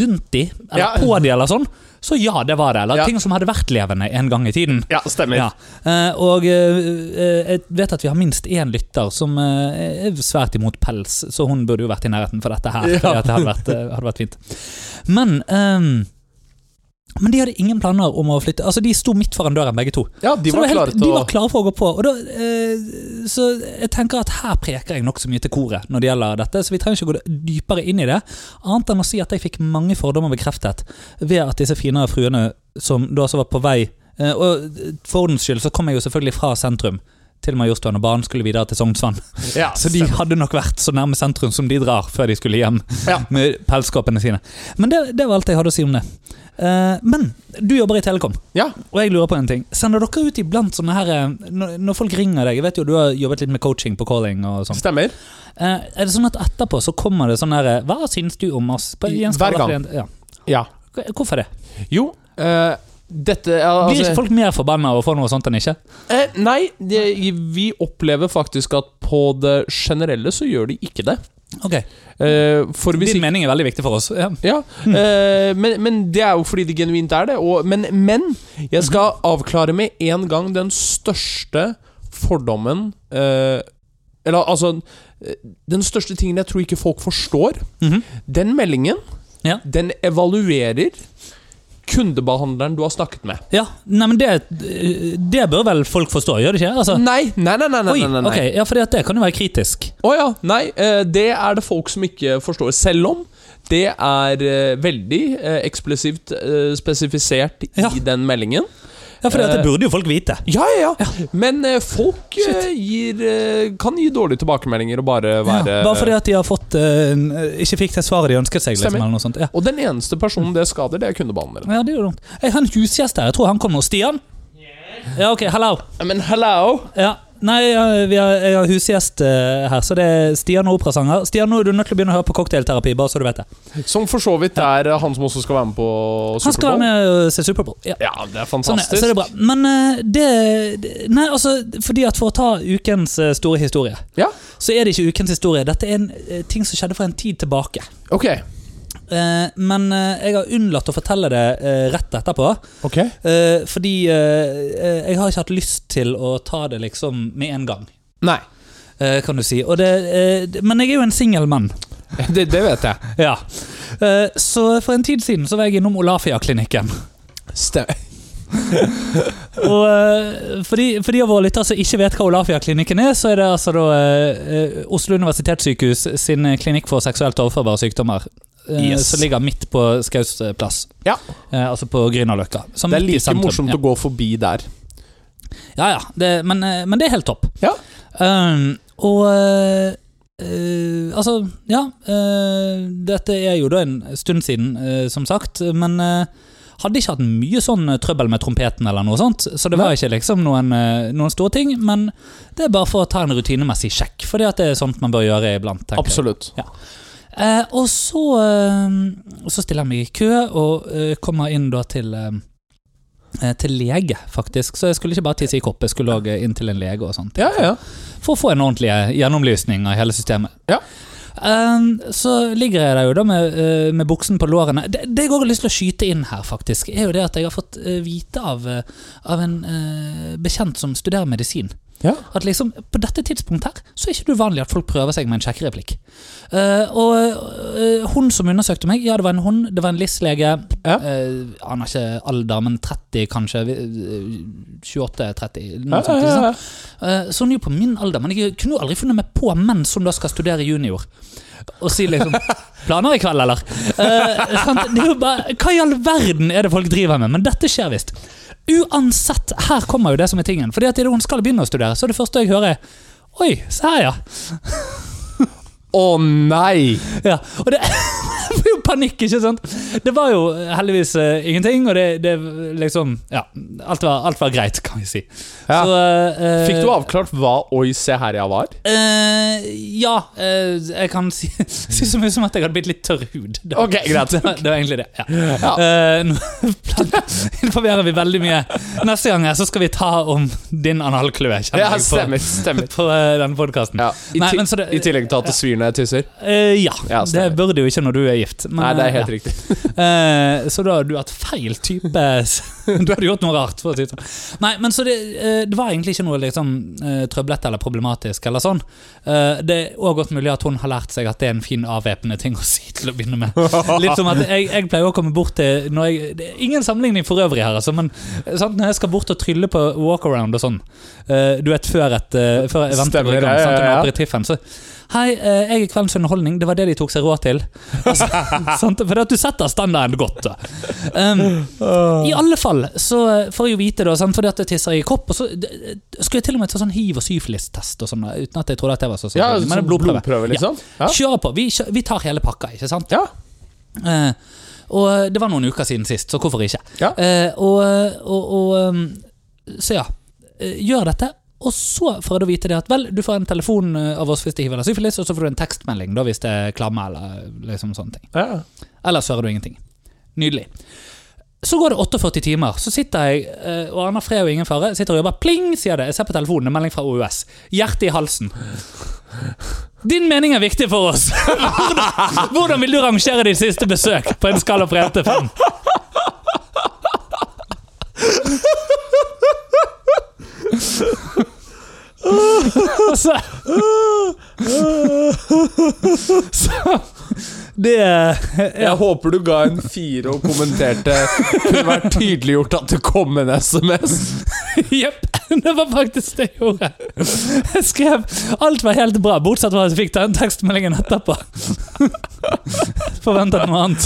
[SPEAKER 2] rundt de, eller
[SPEAKER 1] Ja.
[SPEAKER 2] på de, eller sånn, så ja, det var det. Eller
[SPEAKER 1] Ja.
[SPEAKER 2] ting som hadde vært levende en gang i tiden.
[SPEAKER 1] Ja, stemmer.
[SPEAKER 2] Ja. Eh, og eh, eh, jeg vet at vi har minst én lytter som eh, er svært imot pels, så hun burde jo vært i nærheten for dette her.
[SPEAKER 1] Ja.
[SPEAKER 2] Fordi at det hadde vært, eh, hadde vært fint. Men ehm, men de hadde ingen planer om å flytte. Altså, De sto midt foran døren, begge to.
[SPEAKER 1] Ja, de
[SPEAKER 2] Så det
[SPEAKER 1] var
[SPEAKER 2] helt-
[SPEAKER 1] klare til
[SPEAKER 2] de
[SPEAKER 1] å
[SPEAKER 2] var klare for å gå på. Og da, eh, så jeg tenker at her preker jeg nokså mye til koret når det gjelder dette, så vi trenger ikke gå dypere inn i det, annet enn å si at jeg fikk mange fordommer bekreftet ved at disse finere fruene som da altså var på vei eh, Og for ordens skyld så kom jeg jo selvfølgelig fra sentrum til Majorstuen, og banen skulle videre til Sognsvann.
[SPEAKER 1] Ja,
[SPEAKER 2] Så de hadde nok vært så nærme sentrum som de drar før de skulle hjem
[SPEAKER 1] Ja.
[SPEAKER 2] med pelskåpene sine. Men det, det var alt jeg hadde å si om det. Eh, men du jobber i Telekom.
[SPEAKER 1] Ja.
[SPEAKER 2] Og jeg lurer på en ting. Sender dere ut iblant sånne her eh, Når, når folk ringer deg Jeg vet jo du har jobbet litt med coaching på calling og sånn.
[SPEAKER 1] stemmer.
[SPEAKER 2] Eh, er det sånn at etterpå så kommer det sånn her eh, Hva syns du om oss? På, i en
[SPEAKER 1] Hver
[SPEAKER 2] skala
[SPEAKER 1] gang.
[SPEAKER 2] til en- Ja.
[SPEAKER 1] Ja.
[SPEAKER 2] K- Hvorfor det?
[SPEAKER 1] Jo, eh, dette ja,
[SPEAKER 2] Blir
[SPEAKER 1] altså-
[SPEAKER 2] ikke folk mer forbanna av å få noe sånt enn ikke?
[SPEAKER 1] Eh, nei, det, vi opplever faktisk at på det generelle så gjør de ikke det.
[SPEAKER 2] Ok,
[SPEAKER 1] Eh, for hvis
[SPEAKER 2] Din
[SPEAKER 1] ikke
[SPEAKER 2] mening er veldig viktig for oss. Ja.
[SPEAKER 1] ja,
[SPEAKER 2] Hmm.
[SPEAKER 1] eh, men, men det er jo fordi det genuint er det. Og, men, men jeg
[SPEAKER 2] Mhm.
[SPEAKER 1] skal avklare med en gang den største fordommen eh, Eller altså eh, Den største tingen jeg tror ikke folk forstår.
[SPEAKER 2] Mhm.
[SPEAKER 1] Den meldingen,
[SPEAKER 2] Ja.
[SPEAKER 1] den evaluerer kundebehandleren du har snakket med.
[SPEAKER 2] ja. Nei, men det, eh, det bør vel folk forstå, gjør det ikke? Altså,
[SPEAKER 1] Nei, nei, nei, nei, nei,
[SPEAKER 2] Oi,
[SPEAKER 1] nei, nei, nei.
[SPEAKER 2] ok, ja, fordi at det kan jo være kritisk.
[SPEAKER 1] Å ja. Nei, eh, det er det folk som ikke forstår. Selv om det er eh, veldig eh, eksplosivt eh, spesifisert
[SPEAKER 2] Ja.
[SPEAKER 1] i den meldingen.
[SPEAKER 2] Ja, fordi
[SPEAKER 1] Eh,
[SPEAKER 2] at det burde jo folk vite.
[SPEAKER 1] Ja, ja, ja. Men eh, folk eh, gir, eh, kan gi dårlige tilbakemeldinger og bare være
[SPEAKER 2] ja, bare fordi at de har fått eh, en- ikke fikk det svaret de ønsket seg. Liksom,
[SPEAKER 1] Stemmer.
[SPEAKER 2] eller noe sånt. Ja.
[SPEAKER 1] Og den eneste personen det skader, det er kundebehandleren.
[SPEAKER 2] ja, det er jo dumt. Jeg har en husgjest her. Jeg tror han kommer. Stian? Ja, ok, hello.
[SPEAKER 1] Men hello!
[SPEAKER 2] Ja. Nei, ja, vi har, jeg har husgjest eh, her, så det er Stian og operasanger. Stian, nå er du nødt til å begynne å høre på cocktailterapi, bare så du vet det.
[SPEAKER 1] Som for så vidt er eh, han som også skal være med på
[SPEAKER 2] Han skal være
[SPEAKER 1] Superbowl.
[SPEAKER 2] med og se Superbowl. Ja.
[SPEAKER 1] Ja, det er
[SPEAKER 2] Sånn er,
[SPEAKER 1] fantastisk.
[SPEAKER 2] så det er bra. Men eh, det, det- Nei, altså, fordi at for å ta ukens eh, store historie,
[SPEAKER 1] Ja,
[SPEAKER 2] så er det ikke ukens historie. Dette er en eh, ting som skjedde for en tid tilbake.
[SPEAKER 1] ok.
[SPEAKER 2] Eh, men eh, jeg har unnlatt å fortelle det eh, rett etterpå.
[SPEAKER 1] Ok.
[SPEAKER 2] eh, fordi eh, eh, jeg har ikke hatt lyst til å ta det liksom med en gang,
[SPEAKER 1] Nei.
[SPEAKER 2] eh, kan du si. Og det, eh, det- men jeg er jo en singel mann.
[SPEAKER 1] Det, det vet jeg.
[SPEAKER 2] Ja. Eh, så for en tid siden så var jeg innom Olafia-klinikken.
[SPEAKER 1] Stem
[SPEAKER 2] Og eh, for de for de av våre lyttere som ikke vet hva Olafia-klinikken er, så er det altså da eh, eh, Oslo universitetssykehus sin klinikk for seksuelt overførbare sykdommer. eh,
[SPEAKER 1] Yes.
[SPEAKER 2] Som ligger midt på Skaus eh, plass.
[SPEAKER 1] Ja.
[SPEAKER 2] Eh, altså på Grünerløkka. Så
[SPEAKER 1] det er
[SPEAKER 2] midt i
[SPEAKER 1] like
[SPEAKER 2] sentrum.
[SPEAKER 1] morsomt å gå forbi der.
[SPEAKER 2] Ja, ja, det, men, eh, men det er helt topp.
[SPEAKER 1] Ja.
[SPEAKER 2] Um, og eh, eh, Altså, ja. eh, dette er jo da en stund siden, eh, som sagt. Men eh, hadde ikke hatt mye sånn eh, trøbbel med trompeten eller noe sånt. Så det var
[SPEAKER 1] Nei.
[SPEAKER 2] ikke liksom noen, eh, noen store ting. Men det er bare for å ta en rutinemessig sjekk, fordi at det er sånt man bør gjøre iblant. tenker jeg.
[SPEAKER 1] Absolutt.
[SPEAKER 2] Eh, og så, eh, så stiller jeg meg i kø og eh, kommer inn da til eh, eh, til lege, faktisk. Så jeg skulle ikke bare tisse i kopp, jeg skulle også inn til en lege. og sånt
[SPEAKER 1] Ja, ja, ja.
[SPEAKER 2] For å få en ordentlig eh, gjennomlysning av hele systemet.
[SPEAKER 1] Ja.
[SPEAKER 2] Eh, så ligger jeg der jo da med, eh, med buksen på lårene. Det, det jeg også har lyst til å skyte inn her, faktisk, er jo det at jeg har fått eh, vite av, eh, av en eh, bekjent som studerer medisin.
[SPEAKER 1] Ja.
[SPEAKER 2] At liksom, på dette tidspunktet her, så er ikke det uvanlig at folk prøver seg med en sjekkereplikk. Eh, og eh, hun som undersøkte meg, ja, det var en hun, det var en LIS-lege.
[SPEAKER 1] Ja.
[SPEAKER 2] eh, aner ikke alder, men 30 kanskje. eh, 28-30, noe
[SPEAKER 1] Ja,
[SPEAKER 2] sånt.
[SPEAKER 1] ja,
[SPEAKER 2] Liksom.
[SPEAKER 1] ja.
[SPEAKER 2] Eh, Så hun er jo på min alder, men jeg kunne jo aldri funnet meg på mens hun da skal studere junior. Og si liksom 'Planer i kveld, eller?' Eh, sant? Det er jo bare, hva i all verden er det folk driver med? Men dette skjer visst. Uansett, her kommer jo det som er tingen. Fordi at idet hun skal begynne å studere, så er det første jeg hører er, Oi, se her, ja.
[SPEAKER 1] Å nei!
[SPEAKER 2] ja. Og det det var jo panikk, ikke sant? Det var jo heldigvis eh, ingenting, og det, det liksom Ja. Alt var, alt var greit, kan vi si.
[SPEAKER 1] Ja.
[SPEAKER 2] eh, eh,
[SPEAKER 1] Fikk du avklart hva 'oi, se her jeg var'?
[SPEAKER 2] Eh, ja, eh, jeg kan si, si så mye som at jeg hadde blitt litt tørr hud. Det var,
[SPEAKER 1] Ok, greit.
[SPEAKER 2] det var, det var egentlig det. Ja.
[SPEAKER 1] Ja.
[SPEAKER 2] Eh, nå informerer vi veldig mye. Neste gang her så skal vi ta om din analkløe. kjenner
[SPEAKER 1] Ja,
[SPEAKER 2] jeg
[SPEAKER 1] stemmer.
[SPEAKER 2] På,
[SPEAKER 1] stemmer
[SPEAKER 2] på eh, denne podkasten.
[SPEAKER 1] ja. I,
[SPEAKER 2] Nei,
[SPEAKER 1] ti-
[SPEAKER 2] men så det-
[SPEAKER 1] I tillegg til at det svir når jeg tisser.
[SPEAKER 2] Eh, ja,
[SPEAKER 1] Ja,
[SPEAKER 2] det
[SPEAKER 1] stemmer.
[SPEAKER 2] burde jo ikke når du er gift. men,
[SPEAKER 1] Nei, det er helt
[SPEAKER 2] eh, ja.
[SPEAKER 1] riktig.
[SPEAKER 2] Eh, så da har du hatt feil type Du hadde gjort noe rart. For å si det. sånn. Nei, men så det, eh, det var egentlig ikke noe liksom, eh, trøblete eller problematisk. eller sånn Eh, Det er òg godt mulig at hun har lært seg at det er en fin avvæpnende ting å si til å begynne med. Litt som at jeg, jeg pleier å komme bort til når jeg, det er Ingen sammenligning for øvrig her, altså, men eh, sant, når jeg skal bort og trylle på walkaround og sånn eh, Du vet, før et eh, før eventet
[SPEAKER 1] Stemmer,
[SPEAKER 2] går i gang,
[SPEAKER 1] ja, ja,
[SPEAKER 2] sant, under
[SPEAKER 1] ja.
[SPEAKER 2] aperitiffen, så Hei, eh, jeg er kveldens underholdning. Det var det de tok seg råd til. Altså, sant? For at du setter standarden godt. Da. Um, I alle fall så får jeg jo vite, da, sant? fordi at jeg tisser i kopp, og så d- d- skulle jeg til og med ta sånn hiv- og syfilistest og sånn, da, uten at jeg trodde at det var så
[SPEAKER 1] Ja,
[SPEAKER 2] sannsynlig. men
[SPEAKER 1] sånn
[SPEAKER 2] det er blodprøve.
[SPEAKER 1] blodprøve, liksom? Ja.
[SPEAKER 2] Ja. Kjør på. Vi, kjø- vi tar hele pakka, ikke sant?
[SPEAKER 1] Ja.
[SPEAKER 2] Eh, og det var noen uker siden sist, så hvorfor ikke?
[SPEAKER 1] Ja.
[SPEAKER 2] Eh, og, og, og um, Så ja, eh, gjør dette. Og så får jeg da vite det at vel, du får en telefon eh, av oss hvis det hiver eller syfilis, og så får du en tekstmelding da hvis det er klamme eller liksom sånne ting.
[SPEAKER 1] Ja.
[SPEAKER 2] Ellers hører du ingenting. Nydelig. Så går det 48 timer, så sitter jeg eh, og aner fred og ingen fare. Sitter og jobber. Pling, sier det. Jeg ser på telefonen, en melding fra OUS. Hjertet i halsen. Din mening er viktig for oss. Hvordan, hvordan vil du rangere ditt siste besøk på en skala fra 1 til 5? Så, så Det ja.
[SPEAKER 1] Jeg håper du ga en fire og kommenterte. Kunne vært tydeliggjort at det kom en SMS.
[SPEAKER 2] Jepp, det var faktisk det jeg gjorde. Jeg skrev Alt var helt bra, bortsett fra at jeg fikk den tekstmeldingen etterpå. Forventet noe annet.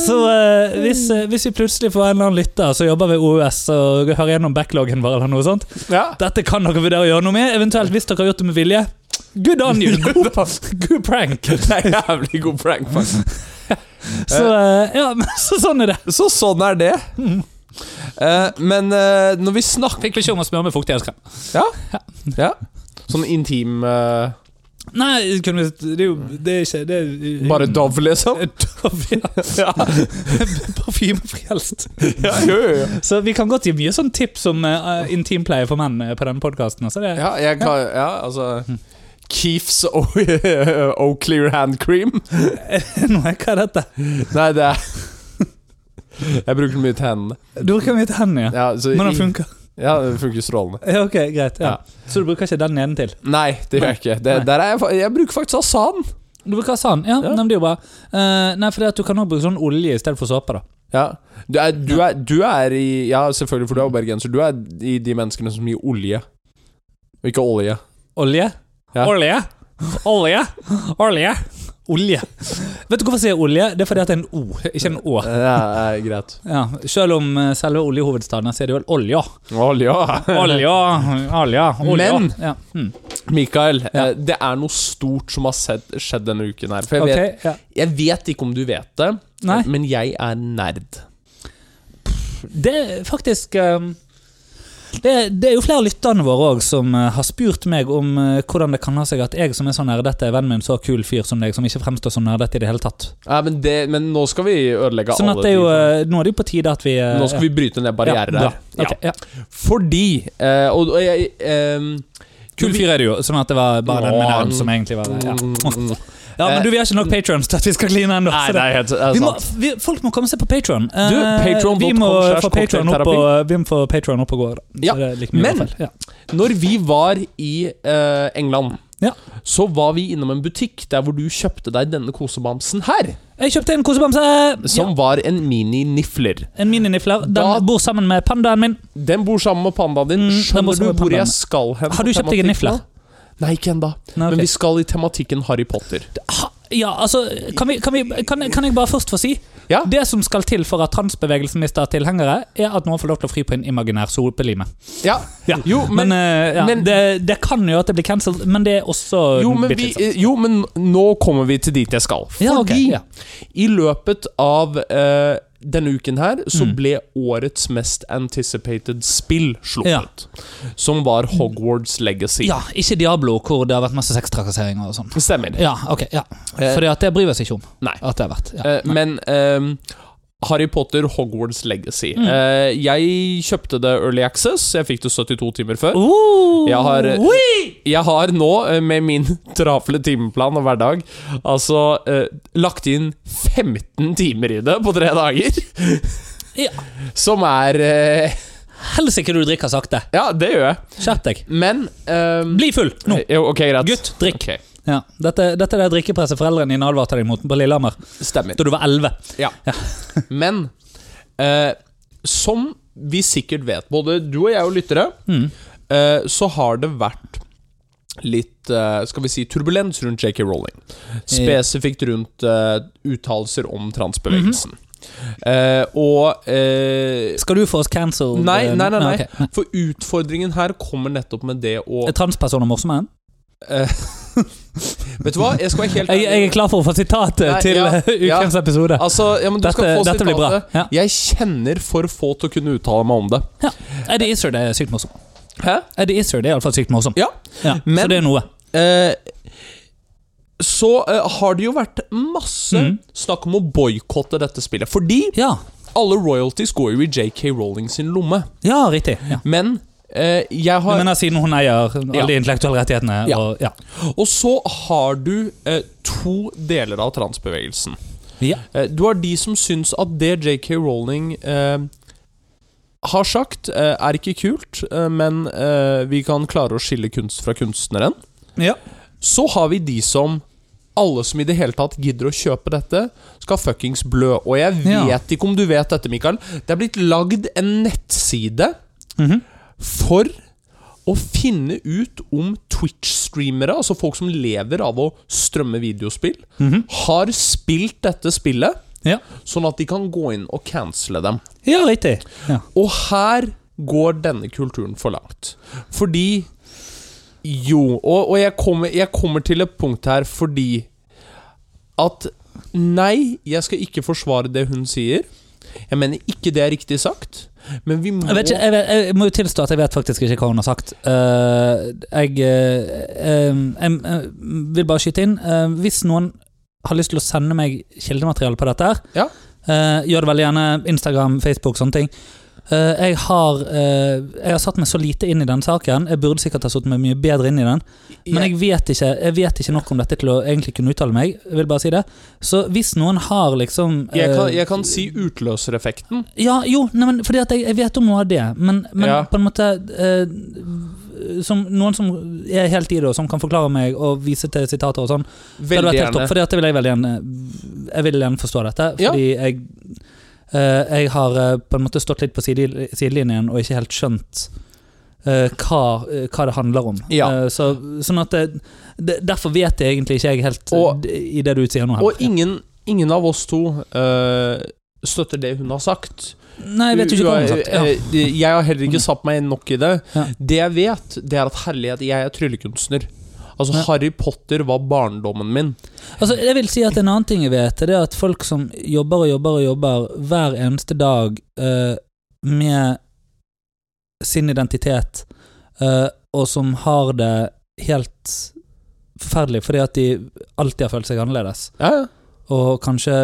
[SPEAKER 2] Så eh, hvis, eh, hvis vi plutselig får en eller annen lytter som jobber ved OUS og hører gjennom backloggen vår, eller noe sånt
[SPEAKER 1] Ja.
[SPEAKER 2] Dette kan dere vurdere å gjøre noe med, eventuelt hvis dere har gjort det med vilje. Good on you! God, good prank!
[SPEAKER 1] Det er jævlig god prank, faktisk.
[SPEAKER 2] Så, eh, ja, men, så sånn er det.
[SPEAKER 1] Så sånn er det. Eh, men eh, når vi snakker
[SPEAKER 2] Fikk beskjed om å smøre med fuktighetskrem.
[SPEAKER 1] ja. Sånn intim eh,
[SPEAKER 2] Nei, kunne vi, det er jo det er ikke det er,
[SPEAKER 1] Bare Dove, liksom?
[SPEAKER 2] Eh, ja. Parfymefrelst.
[SPEAKER 1] Ja, jo, jo, jo.
[SPEAKER 2] Så vi kan godt gi mye sånn tips om eh, intimpleie for menn eh, på denne podkasten. Altså det-
[SPEAKER 1] ja jeg kan Ja, altså Keefs og, og Clear Hand Cream.
[SPEAKER 2] Nå er- Hva er dette?
[SPEAKER 1] Nei, det er Jeg bruker den mye til hendene.
[SPEAKER 2] Du bruker mye til hendene, ja.
[SPEAKER 1] Ja, så
[SPEAKER 2] Men den
[SPEAKER 1] i-
[SPEAKER 2] funker.
[SPEAKER 1] ja, det funker strålende.
[SPEAKER 2] Ja, ok, greit.
[SPEAKER 1] Ja.
[SPEAKER 2] Ja. Så du bruker ikke den nedentil?
[SPEAKER 1] Nei, det gjør jeg ikke. Det,
[SPEAKER 2] Nei.
[SPEAKER 1] der er jeg, fa- jeg bruker faktisk asan.
[SPEAKER 2] Du bruker sand? Ja,
[SPEAKER 1] Ja.
[SPEAKER 2] Nei, men det er jo bra. Eh, nei, for det at du kan også bruke sånn olje i stedet for såpe. da
[SPEAKER 1] Ja. Du, er, du, er, du er i Ja, selvfølgelig, for du er jo bergenser. Du er i de menneskene som gir olje. Og ikke olje.
[SPEAKER 2] Olje?
[SPEAKER 1] Ja.
[SPEAKER 2] Olje? Olje? Olje? Olje. Vet du hvorfor jeg sier olje? Det er fordi at det er en O, ikke en Å.
[SPEAKER 1] Ja, er greit.
[SPEAKER 2] Ja, selv om eh, selve oljehovedstaden sier det vel olja.
[SPEAKER 1] Olje.
[SPEAKER 2] Olja, olja, olja.
[SPEAKER 1] Men-
[SPEAKER 2] ja. mm.
[SPEAKER 1] Mikael,
[SPEAKER 2] Ja.
[SPEAKER 1] eh, det er noe stort som har sett, skjedd denne uken her. For jeg, vet,
[SPEAKER 2] Ok, ja.
[SPEAKER 1] jeg vet ikke om du vet det, eh,
[SPEAKER 2] Nei.
[SPEAKER 1] men jeg er nerd.
[SPEAKER 2] Det er faktisk um, det, det er jo flere av lytterne våre òg som eh, har spurt meg om eh, hvordan det kan ha seg at jeg som er så nerdete, er venn med en så kul fyr som deg, som ikke fremstår så nerdete i det hele tatt.
[SPEAKER 1] Ja, men, det, men nå skal vi ødelegge
[SPEAKER 2] Sånn at
[SPEAKER 1] alle
[SPEAKER 2] det er jo,
[SPEAKER 1] de-
[SPEAKER 2] eh, Nå er det jo på tide at vi eh,
[SPEAKER 1] Nå skal vi bryte ned barrierer
[SPEAKER 2] ja,
[SPEAKER 1] her.
[SPEAKER 2] bra. Ok, ja.
[SPEAKER 1] Fordi eh, Og, og jeg eh,
[SPEAKER 2] Kul fyr er det jo, sånn at det var bare den med navn som egentlig var ja.
[SPEAKER 1] Mm, mm, mm.
[SPEAKER 2] Ja, men du, Vi har ikke nok patrons til at vi skal kline ennå. så
[SPEAKER 1] Nei,
[SPEAKER 2] det-
[SPEAKER 1] det er helt det er
[SPEAKER 2] vi må,
[SPEAKER 1] sant.
[SPEAKER 2] vi, folk må komme seg på Patron.
[SPEAKER 1] patreon.com
[SPEAKER 2] vi, må
[SPEAKER 1] slash
[SPEAKER 2] få Patreon opp og, vi må få Patron opp og gå. Da. Så
[SPEAKER 1] Ja,
[SPEAKER 2] det er like mye
[SPEAKER 1] men-
[SPEAKER 2] avfall. ja.
[SPEAKER 1] Når vi var i eh, England,
[SPEAKER 2] Ja.
[SPEAKER 1] så var vi innom en butikk der hvor du kjøpte deg denne kosebamsen her.
[SPEAKER 2] Jeg kjøpte en kosebamse!
[SPEAKER 1] Som var en mini-nifler.
[SPEAKER 2] Ja, en mininifler. Den
[SPEAKER 1] Da-
[SPEAKER 2] bor sammen med pandaen min.
[SPEAKER 1] Den bor sammen med pandaen din.
[SPEAKER 2] Mm, den bor
[SPEAKER 1] Skjønner
[SPEAKER 2] sammen
[SPEAKER 1] du
[SPEAKER 2] med
[SPEAKER 1] hvor
[SPEAKER 2] pandaen.
[SPEAKER 1] jeg skal hen?
[SPEAKER 2] Har
[SPEAKER 1] på
[SPEAKER 2] du kjøpt deg en
[SPEAKER 1] tematikken
[SPEAKER 2] nifler?
[SPEAKER 1] nå? Nei, ikke ennå.
[SPEAKER 2] Nei, ok.
[SPEAKER 1] Men vi skal i tematikken Harry Potter.
[SPEAKER 2] Ha- Ja, altså, kan, vi, kan, vi, kan, kan jeg bare først få si?
[SPEAKER 1] Ja.
[SPEAKER 2] Det som skal til for at transbevegelsen mister tilhengere, er at noen får lov til å fri på en imaginær solpelime.
[SPEAKER 1] Ja. Jo,
[SPEAKER 2] Men,
[SPEAKER 1] men,
[SPEAKER 2] eh, ja,
[SPEAKER 1] men-
[SPEAKER 2] det, det kan jo at det blir cancelled, men det er også
[SPEAKER 1] jo, men,
[SPEAKER 2] bitte
[SPEAKER 1] vi,
[SPEAKER 2] litt sånn.
[SPEAKER 1] jo, men nå kommer vi til dit jeg skal. Fordi
[SPEAKER 2] Ja, ok, ja.
[SPEAKER 1] i løpet av eh, denne uken her så
[SPEAKER 2] Mm.
[SPEAKER 1] ble årets mest anticipated spill sluppet. Som var Hogwarts Legacy.
[SPEAKER 2] Ja, ikke Diablo, hvor det har vært masse sextrakasseringer og sånn.
[SPEAKER 1] Stemmer.
[SPEAKER 2] Ja, ok, ja.
[SPEAKER 1] Eh,
[SPEAKER 2] Fordi at det bryr vi oss ikke om.
[SPEAKER 1] Nei.
[SPEAKER 2] At det har vært. Ja.
[SPEAKER 1] Eh, men ehm, Harry Potter Hogwarts Legacy.
[SPEAKER 2] Mm.
[SPEAKER 1] Eh, jeg kjøpte det Early Access. Jeg fikk det 72 timer før.
[SPEAKER 2] Oh,
[SPEAKER 1] Jeg har- eh,
[SPEAKER 2] oi!
[SPEAKER 1] Jeg har nå, eh, med min trafle timeplan og hverdag, altså eh, lagt inn 15 timer i det på tre dager.
[SPEAKER 2] Ja.
[SPEAKER 1] Som er eh,
[SPEAKER 2] Helsike, du drikker sakte.
[SPEAKER 1] Ja, det gjør jeg.
[SPEAKER 2] Skjerp deg.
[SPEAKER 1] Men ehm,
[SPEAKER 2] Bli full nå.
[SPEAKER 1] eh, Jo, ok, greit.
[SPEAKER 2] Gutt, drikk.
[SPEAKER 1] Ok,
[SPEAKER 2] Ja, dette, dette er det drikkepresset foreldrene dine advarte deg mot på Lillehammer
[SPEAKER 1] Stemmer.
[SPEAKER 2] da du var 11.
[SPEAKER 1] Ja. Men eh, som vi sikkert vet, både du og jeg og lyttere,
[SPEAKER 2] Mm.
[SPEAKER 1] eh, så har det vært litt eh, skal vi si turbulens rundt JK Rowling.
[SPEAKER 2] Eh.
[SPEAKER 1] Spesifikt rundt eh, uttalelser om transbevegelsen. Eh, og eh,
[SPEAKER 2] Mhm. Skal du få oss cancel?
[SPEAKER 1] Nei, nei, nei. nei.
[SPEAKER 2] ok. nei.
[SPEAKER 1] For utfordringen her kommer nettopp med det å
[SPEAKER 2] Er transpersoner morsomme?
[SPEAKER 1] Eh, Vet du hva, jeg skal være helt
[SPEAKER 2] Jeg, jeg er klar for å få sitatet
[SPEAKER 1] Nei,
[SPEAKER 2] til
[SPEAKER 1] ja,
[SPEAKER 2] eh, ukens episode.
[SPEAKER 1] Altså, ja, men du
[SPEAKER 2] Dette,
[SPEAKER 1] skal få
[SPEAKER 2] dette blir bra.
[SPEAKER 1] sitatet.
[SPEAKER 2] Ja.
[SPEAKER 1] Jeg kjenner for få til å kunne uttale meg om det.
[SPEAKER 2] Eddie Izzard er sykt morsom.
[SPEAKER 1] Hæ?
[SPEAKER 2] Eddie Izzard er iallfall sykt morsom.
[SPEAKER 1] Ja.
[SPEAKER 2] Ja,
[SPEAKER 1] Men-
[SPEAKER 2] så det er noe.
[SPEAKER 1] Eh, så eh, har det jo vært masse
[SPEAKER 2] Mhm.
[SPEAKER 1] snakk om å boikotte dette spillet. Fordi
[SPEAKER 2] Ja,
[SPEAKER 1] alle royalties går jo i JK Rowling sin lomme.
[SPEAKER 2] ja riktig. Ja.
[SPEAKER 1] Men eh, jeg
[SPEAKER 2] Jeg
[SPEAKER 1] har
[SPEAKER 2] mener siden hun eier alle
[SPEAKER 1] Ja.
[SPEAKER 2] de intellektuelle rettighetene.
[SPEAKER 1] Ja.
[SPEAKER 2] Og, ja.
[SPEAKER 1] Og så har du eh, to deler av transbevegelsen.
[SPEAKER 2] Ja.
[SPEAKER 1] Eh, du har de som syns at det JK Rowling eh, har sagt, eh, er ikke kult, eh, men eh, vi kan klare å skille kunst fra kunstneren.
[SPEAKER 2] Ja.
[SPEAKER 1] Så har vi de som alle som i det hele tatt gidder å kjøpe dette, skal fuckings blø. Og jeg
[SPEAKER 2] Ja.
[SPEAKER 1] vet ikke om du vet dette, Mikael. Det er blitt lagd en nettside
[SPEAKER 2] Mhm.
[SPEAKER 1] for å finne ut om Twitch-streamere, altså folk som lever av å strømme videospill,
[SPEAKER 2] Mhm.
[SPEAKER 1] har spilt dette spillet,
[SPEAKER 2] Ja.
[SPEAKER 1] sånn at de kan gå inn og cancele dem.
[SPEAKER 2] ja, riktig. Ja.
[SPEAKER 1] Og her går denne kulturen for langt. Fordi Jo, og, og jeg, kommer, jeg kommer til et punkt her fordi at Nei, jeg skal ikke forsvare det hun sier. Jeg mener ikke det er riktig sagt, men vi må
[SPEAKER 2] Jeg, vet ikke, jeg, vet, jeg må jo tilstå at jeg vet faktisk ikke hva hun har sagt. Eh, jeg, eh, em, em, em, vil bare skyte inn. Eh, hvis noen har lyst til å sende meg kildemateriale på dette, her,
[SPEAKER 1] Ja.
[SPEAKER 2] eh, gjør det veldig gjerne. Instagram, Facebook, sånne ting. Eh, jeg, har, eh, jeg har satt meg så lite inn i den saken. Jeg burde sikkert ha satt meg mye bedre inn i den. Men jeg vet, ikke, jeg vet ikke nok om dette til å egentlig kunne uttale meg. Jeg vil bare si det. Så hvis noen har liksom
[SPEAKER 1] jeg, jeg, kan,
[SPEAKER 2] eh,
[SPEAKER 1] jeg kan si utløsereffekten.
[SPEAKER 2] ja, jo, nei, men fordi at jeg, jeg vet om noe av det, men, men
[SPEAKER 1] Ja.
[SPEAKER 2] på en måte eh, som Noen som er helt i det, og som kan forklare meg og vise til sitater og sånn. det hadde vært
[SPEAKER 1] Veldig
[SPEAKER 2] helt
[SPEAKER 1] gjerne.
[SPEAKER 2] topp, Fordi at jeg vil jeg veldig gjerne Jeg vil gjerne forstå dette,
[SPEAKER 1] Ja.
[SPEAKER 2] fordi jeg eh, Jeg har eh, på en måte stått litt på side, sidelinjen og ikke helt skjønt eh, hva, eh, hva det handler om.
[SPEAKER 1] Ja.
[SPEAKER 2] Eh, så, sånn at det, det, Derfor vet jeg egentlig ikke jeg helt eh,
[SPEAKER 1] Og-
[SPEAKER 2] d- i det du sier nå.
[SPEAKER 1] Og ingen, ingen av oss to eh, støtter det hun har sagt.
[SPEAKER 2] Nei, jeg vet jo ikke hva hun har sagt. Ja.
[SPEAKER 1] Eh, eh, Jeg har heller ikke satt meg inn nok i det.
[SPEAKER 2] Ja.
[SPEAKER 1] Det jeg vet, det er at herlighet, jeg er tryllekunstner. Altså,
[SPEAKER 2] Ja.
[SPEAKER 1] Harry Potter var barndommen min.
[SPEAKER 2] Altså, jeg vil si at En annen ting jeg vet, det er at folk som jobber og jobber og jobber hver eneste dag eh, med sin identitet, eh, og som har det helt forferdelig fordi at de alltid har følt seg annerledes.
[SPEAKER 1] Ja, ja.
[SPEAKER 2] Og kanskje,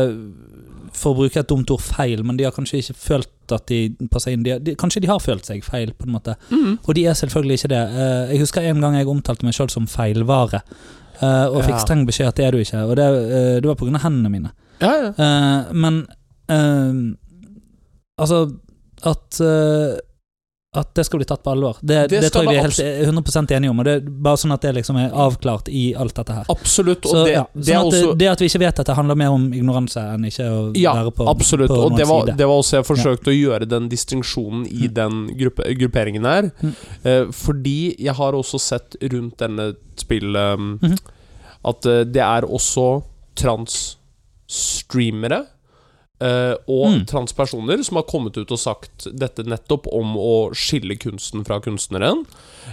[SPEAKER 2] for å bruke et dumt ord, feil, men de har kanskje ikke følt at de passer inn. De, har- de, kanskje de har følt seg feil, på en måte.
[SPEAKER 1] Mhm.
[SPEAKER 2] Og de er selvfølgelig ikke det. Eh, Jeg husker en gang jeg omtalte meg sjøl som feilvare. eh, og
[SPEAKER 1] Ja.
[SPEAKER 2] fikk streng beskjed at det er du ikke. Og det, eh, det var pga. hendene mine.
[SPEAKER 1] Ja, ja.
[SPEAKER 2] Eh, men eh, Altså, at eh, at det skal bli tatt på alvor. Det,
[SPEAKER 1] Det
[SPEAKER 2] det, tror
[SPEAKER 1] skal
[SPEAKER 2] jeg vi er
[SPEAKER 1] det
[SPEAKER 2] helt 100 enige om. Og det er Bare sånn at det liksom er avklart i alt dette her.
[SPEAKER 1] Absolutt. Og
[SPEAKER 2] Så,
[SPEAKER 1] det,
[SPEAKER 2] ja.
[SPEAKER 1] det
[SPEAKER 2] sånn
[SPEAKER 1] er
[SPEAKER 2] at det,
[SPEAKER 1] også
[SPEAKER 2] det at vi ikke vet dette, handler mer om ignoranse enn ikke å
[SPEAKER 1] Ja,
[SPEAKER 2] være på
[SPEAKER 1] Absolutt.
[SPEAKER 2] på
[SPEAKER 1] Og det
[SPEAKER 2] noens
[SPEAKER 1] var,
[SPEAKER 2] side.
[SPEAKER 1] det var også jeg forsøkte å gjøre den distinksjonen i den gruppe, grupperingen her.
[SPEAKER 2] Mm.
[SPEAKER 1] Eh, fordi jeg har også sett rundt denne spill eh,
[SPEAKER 2] Mhm.
[SPEAKER 1] at eh, det er også trans-streamere. eh, og
[SPEAKER 2] Mm.
[SPEAKER 1] transpersoner som har kommet ut og sagt dette nettopp om å skille kunsten fra kunstneren.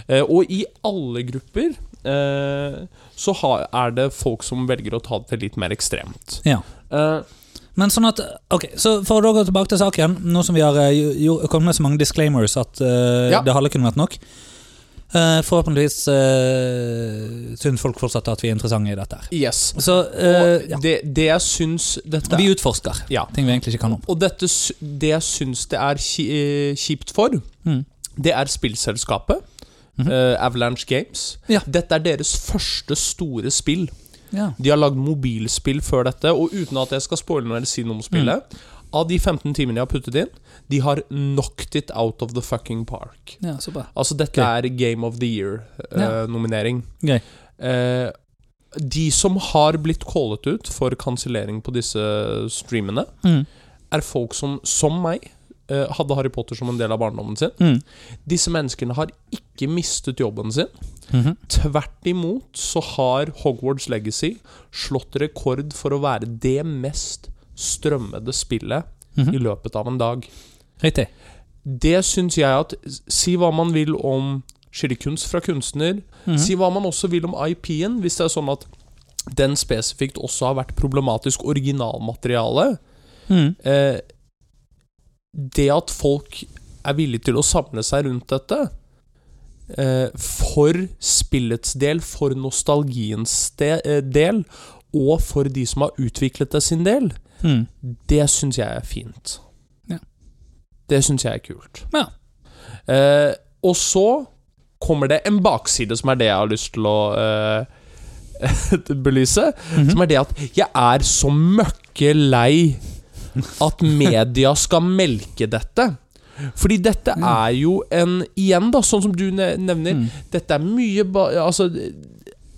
[SPEAKER 1] Eh, og i alle grupper eh, så har, er det folk som velger å ta det til litt mer ekstremt.
[SPEAKER 2] Ja.
[SPEAKER 1] Eh,
[SPEAKER 2] Men sånn at, ok, så For å da gå tilbake til saken, nå som vi har eh, jo, jo- kommet med så mange disclaimers at eh,
[SPEAKER 1] Ja.
[SPEAKER 2] det halve kunne vært nok eh, Forhåpentligvis uh, syns folk fortsatt at vi er interessante i dette. her
[SPEAKER 1] yes.
[SPEAKER 2] Så eh,
[SPEAKER 1] Og
[SPEAKER 2] ja,
[SPEAKER 1] det, det jeg syns dette
[SPEAKER 2] vi utforsker
[SPEAKER 1] Ja.
[SPEAKER 2] ting vi egentlig ikke kan om.
[SPEAKER 1] Og dette, sy- det jeg syns det er ki- eh, kjipt for,
[SPEAKER 2] Mm.
[SPEAKER 1] det er spillselskapet.
[SPEAKER 2] Mhm.
[SPEAKER 1] eh, Avalanche Games.
[SPEAKER 2] Ja.
[SPEAKER 1] Dette er deres første store spill.
[SPEAKER 2] Ja.
[SPEAKER 1] De har lagd mobilspill før dette, og uten at jeg skal spoile noe eller si noe om spillet
[SPEAKER 2] Mm.
[SPEAKER 1] Av de 15 timene jeg har puttet inn, de har knocked it out of the fucking park.
[SPEAKER 2] ja, så bra.
[SPEAKER 1] Altså, dette er Game of the Year-nominering.
[SPEAKER 2] Gøy.
[SPEAKER 1] Eh, de som har blitt callet ut for kansellering på disse streamene,
[SPEAKER 2] Mm.
[SPEAKER 1] er folk som, som meg, eh, hadde Harry Potter som en del av barndommen sin.
[SPEAKER 2] Mm.
[SPEAKER 1] Disse menneskene har ikke mistet jobben sin.
[SPEAKER 2] Mhm.
[SPEAKER 1] Tvert imot så har Hogwarts Legacy slått rekord for å være det mest strømmede spillet
[SPEAKER 2] Mhm.
[SPEAKER 1] i løpet av en dag.
[SPEAKER 2] Riktig.
[SPEAKER 1] Det syns jeg at Si hva man vil om skillekunst fra kunstner.
[SPEAKER 2] Mhm.
[SPEAKER 1] Si hva man også vil om IP-en, hvis det er sånn at den spesifikt også har vært problematisk originalmateriale.
[SPEAKER 2] Mm.
[SPEAKER 1] Eh, det at folk er villige til å samle seg rundt dette eh, For spillets del, for nostalgiens ste- eh, del, og for de som har utviklet det sin del,
[SPEAKER 2] Mm.
[SPEAKER 1] det syns jeg er fint.
[SPEAKER 2] Ja.
[SPEAKER 1] Det syns jeg er kult.
[SPEAKER 2] Ja.
[SPEAKER 1] Eh, og så kommer det en bakside, som er det jeg har lyst til å eh, belyse.
[SPEAKER 2] Mhm.
[SPEAKER 1] Som er det at jeg er så møkke lei at media skal melke dette. Fordi dette
[SPEAKER 2] Ja.
[SPEAKER 1] er jo en Igjen, da, sånn som du ne- nevner.
[SPEAKER 2] Mm.
[SPEAKER 1] Dette er mye ba... Altså,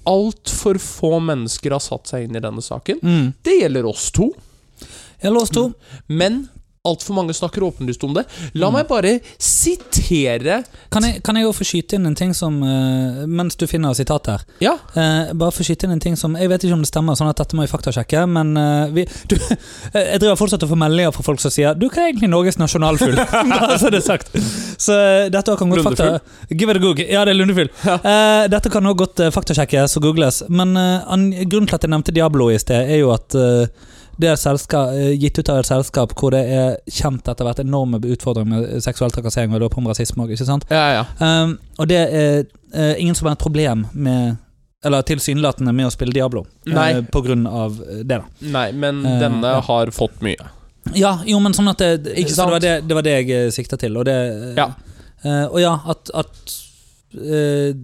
[SPEAKER 1] altfor få mennesker har satt seg inn i denne saken.
[SPEAKER 2] Mm.
[SPEAKER 1] Det gjelder oss to.
[SPEAKER 2] Jeg låst to.
[SPEAKER 1] Men altfor mange snakker åpenlyst om det. La meg bare sitere
[SPEAKER 2] Kan jeg, kan jeg jo få skyte inn en ting som eh, Mens du finner sitatet her.
[SPEAKER 1] Ja.
[SPEAKER 2] Eh, bare for å skyte inn en ting som Jeg vet ikke om det stemmer, sånn at dette må jeg faktasjekke, men eh, vi, du, eh, jeg driver fortsatt og får meldinger fra folk som sier Du, hva er egentlig Norges nasjonalfugl? Bare så det er sagt. Så eh, dette kan godt fakta...
[SPEAKER 1] Lundefugl.
[SPEAKER 2] Give it a google. Ja, det er lundefugl. Eh, dette kan også godt eh, faktasjekkes og googles, men eh, an, grunnen til at jeg nevnte Diablo i sted, er jo at eh, det er selska- eh, gitt ut av et selskap hvor det er kjent etter hvert enorme utfordringer med seksuell trakassering og da på med rasisme òg, ikke sant?
[SPEAKER 1] Ja, ja.
[SPEAKER 2] Um, og det er eh, ingen som har et problem med Eller tilsynelatende med å spille Diablo eh,
[SPEAKER 1] Nei.
[SPEAKER 2] på grunn av eh, det, da.
[SPEAKER 1] Nei, men
[SPEAKER 2] Eh,
[SPEAKER 1] denne
[SPEAKER 2] ja.
[SPEAKER 1] har fått mye.
[SPEAKER 2] Ja, jo, men sånn at det,
[SPEAKER 1] Ikke
[SPEAKER 2] så
[SPEAKER 1] sant?
[SPEAKER 2] det, var det, det var det jeg eh, sikta til, og det eh,
[SPEAKER 1] Ja.
[SPEAKER 2] eh, Og ja, at, at eh,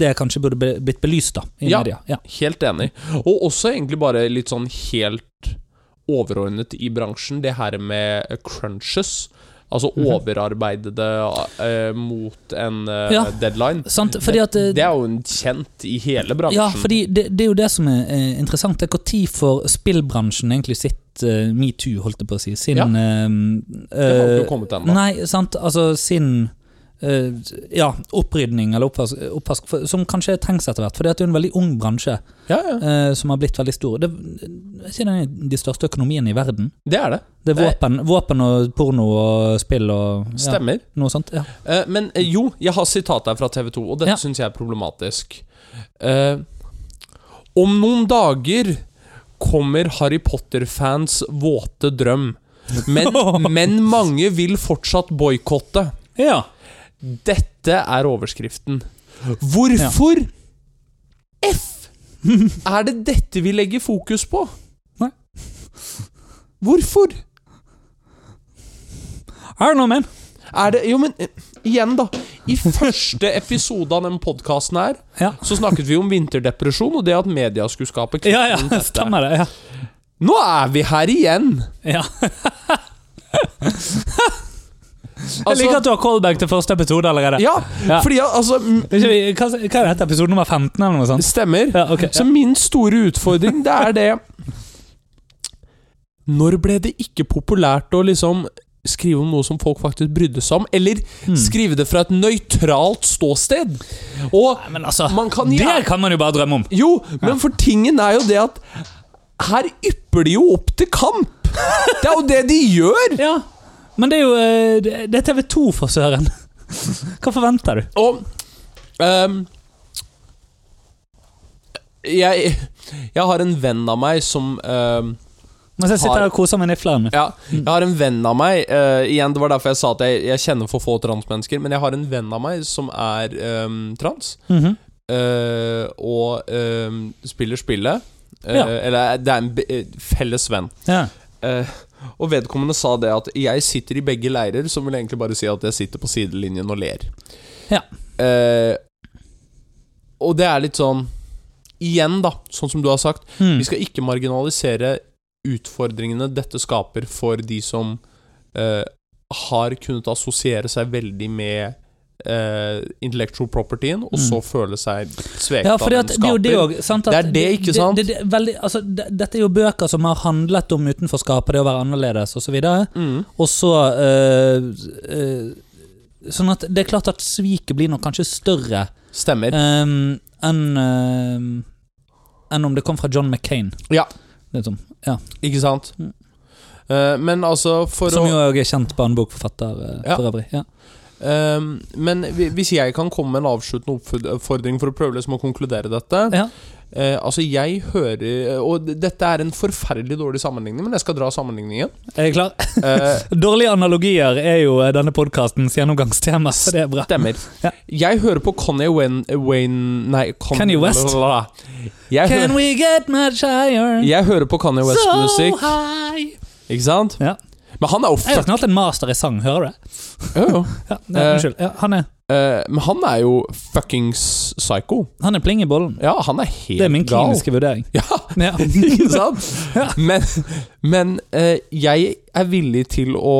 [SPEAKER 2] det kanskje burde be- blitt belyst, da, i
[SPEAKER 1] Ja.
[SPEAKER 2] media. Ja.
[SPEAKER 1] Helt enig. Og også egentlig bare litt sånn helt overordnet i bransjen, det her med crunches. Altså
[SPEAKER 2] Mhm.
[SPEAKER 1] overarbeidede eh, mot en eh,
[SPEAKER 2] Ja.
[SPEAKER 1] deadline.
[SPEAKER 2] Sant? Fordi at eh,
[SPEAKER 1] Det er jo en kjent i hele bransjen.
[SPEAKER 2] Ja, fordi det, det er jo det som er eh, interessant. Det er Når får spillbransjen egentlig sitt eh, metoo, holdt jeg på å si, sin
[SPEAKER 1] Ja.
[SPEAKER 2] eh,
[SPEAKER 1] Det har jo
[SPEAKER 2] eh,
[SPEAKER 1] ikke kommet ennå.
[SPEAKER 2] Nei, sant, altså sin eh, ja, opprydning eller oppvask, oppvask for, som kanskje trengs etter hvert. For det er jo en veldig ung bransje
[SPEAKER 1] Ja, ja.
[SPEAKER 2] eh, som har blitt veldig stor. Det, jeg sier den er de største økonomiene i verden.
[SPEAKER 1] Det er det.
[SPEAKER 2] Det er våpen, våpen og porno og spill og ja,
[SPEAKER 1] Stemmer.
[SPEAKER 2] noe sånt. Ja.
[SPEAKER 1] Eh, men eh, jo, jeg har sitat her fra TV 2, og dette
[SPEAKER 2] Ja.
[SPEAKER 1] synes syns jeg er problematisk. Eh, om noen dager kommer Harry Potter-fans våte drøm. Men, men mange vil fortsatt boikotte.
[SPEAKER 2] ja.
[SPEAKER 1] Dette er overskriften. Hvorfor F er det dette vi legger fokus på?
[SPEAKER 2] Nei.
[SPEAKER 1] Hvorfor?
[SPEAKER 2] I don't know, man.
[SPEAKER 1] Er det Jo, men eh, igjen, da. I første episode av den podkasten her,
[SPEAKER 2] Ja.
[SPEAKER 1] så snakket vi om vinterdepresjon og det at media skulle skape kvitt
[SPEAKER 2] Ja,
[SPEAKER 1] rundt
[SPEAKER 2] ja,
[SPEAKER 1] dette.
[SPEAKER 2] stemmer det. Ja.
[SPEAKER 1] Nå er vi her igjen!
[SPEAKER 2] Ja. Jeg
[SPEAKER 1] Altså-
[SPEAKER 2] liker at du har callback til første episode allerede.
[SPEAKER 1] Ja,
[SPEAKER 2] Ja.
[SPEAKER 1] fordi al- altså m-
[SPEAKER 2] Ikke vi- Hva, hva er dette, episode nummer 15 eller noe sånt?
[SPEAKER 1] Stemmer.
[SPEAKER 2] Ja, ok.
[SPEAKER 1] Så min store utfordring, det er det Når ble det ikke populært å liksom skrive om noe som folk faktisk brydde seg om, eller
[SPEAKER 2] Hmm.
[SPEAKER 1] skrive det fra et nøytralt ståsted? Og
[SPEAKER 2] Men altså,
[SPEAKER 1] man kan
[SPEAKER 2] det
[SPEAKER 1] gjerne
[SPEAKER 2] kan man jo bare drømme om.
[SPEAKER 1] Jo, men for tingen er jo det at her ypper de jo opp til kamp! Det er jo det de gjør!
[SPEAKER 2] Ja, men det er jo eh, Det det er TV 2 for søren. Hva forventer du?
[SPEAKER 1] Og ehm, jeg, jeg har en venn av meg som ehm,
[SPEAKER 2] Mens jeg sitter her og koser meg i nifleren min.
[SPEAKER 1] Ja, jeg har en venn av meg eh, Igjen, det var derfor jeg sa at jeg, jeg kjenner for få transmennesker Men jeg har en venn av meg som er ehm, trans
[SPEAKER 2] Mhm.
[SPEAKER 1] eh, Og ehm, spiller spillet Eh,
[SPEAKER 2] Ja.
[SPEAKER 1] Eller det er en be- eh, felles venn
[SPEAKER 2] ja.
[SPEAKER 1] Eh, Og vedkommende sa det at Jeg sitter i begge leirer Som vil egentlig bare si at jeg sitter på sidelinjen og ler
[SPEAKER 2] Ja.
[SPEAKER 1] Eh, Og det er litt sånn Igjen da, sånn som du har sagt
[SPEAKER 2] Mm.
[SPEAKER 1] vi skal ikke marginalisere utfordringene dette skaper for de som eh, har kunnet assosiere seg veldig med eh, intellectual propertyen, og så føle seg sveket
[SPEAKER 2] Mm. Ja,
[SPEAKER 1] av
[SPEAKER 2] fordi
[SPEAKER 1] den
[SPEAKER 2] at det er jo det
[SPEAKER 1] skaper.
[SPEAKER 2] òg. sant, at
[SPEAKER 1] Det er det, ikke sant?
[SPEAKER 2] Det, det, det, er veldig, altså, det, dette er jo bøker som har handlet om utenforskapet, det å være annerledes osv.
[SPEAKER 1] Mm.
[SPEAKER 2] Og så eh, eh, Sånn at det er klart at sviket blir nok kanskje større
[SPEAKER 1] Stemmer.
[SPEAKER 2] ehm, enn ehm, enn om det kom fra John McCain.
[SPEAKER 1] Ja.
[SPEAKER 2] Liksom.
[SPEAKER 1] Ikke sant?
[SPEAKER 2] Mm.
[SPEAKER 1] Eh, men altså, for
[SPEAKER 2] Som
[SPEAKER 1] å
[SPEAKER 2] jo òg er kjent barnebokforfatter eh,
[SPEAKER 1] Ja.
[SPEAKER 2] for øvrig. Ja.
[SPEAKER 1] eh, Men hvi- hvis jeg kan komme med en avsluttende oppfordring for å prøve liksom å konkludere dette
[SPEAKER 2] Ja.
[SPEAKER 1] eh, Altså, jeg hører Og dette er en forferdelig dårlig sammenligning, men jeg skal dra sammenligningen.
[SPEAKER 2] Er jeg klar?
[SPEAKER 1] Eh,
[SPEAKER 2] Dårlige analogier er jo eh, denne podkastens gjennomgangstema, så det er bra.
[SPEAKER 1] Stemmer.
[SPEAKER 2] Ja.
[SPEAKER 1] Jeg hører på Connie Wayne, Wayne Nei, Con
[SPEAKER 2] Kanye West.
[SPEAKER 1] Jeg,
[SPEAKER 2] Can
[SPEAKER 1] hører,
[SPEAKER 2] we get much higher?
[SPEAKER 1] jeg hører på Connie West-musikk,
[SPEAKER 2] So high.
[SPEAKER 1] ikke sant?
[SPEAKER 2] Ja.
[SPEAKER 1] Men han er jo
[SPEAKER 2] Jeg har
[SPEAKER 1] fuck...
[SPEAKER 2] snart en master i sang, hører du det?
[SPEAKER 1] Jo, jo.
[SPEAKER 2] Ja, nei,
[SPEAKER 1] Eh.
[SPEAKER 2] unnskyld. Ja, han er,
[SPEAKER 1] Eh, men han er jo fuckings psycho.
[SPEAKER 2] han er pling i bollen.
[SPEAKER 1] Ja, han er helt
[SPEAKER 2] Det er min
[SPEAKER 1] gal.
[SPEAKER 2] kliniske vurdering.
[SPEAKER 1] Ja,
[SPEAKER 2] Ja.
[SPEAKER 1] ikke sant? Men, men eh, jeg er villig til å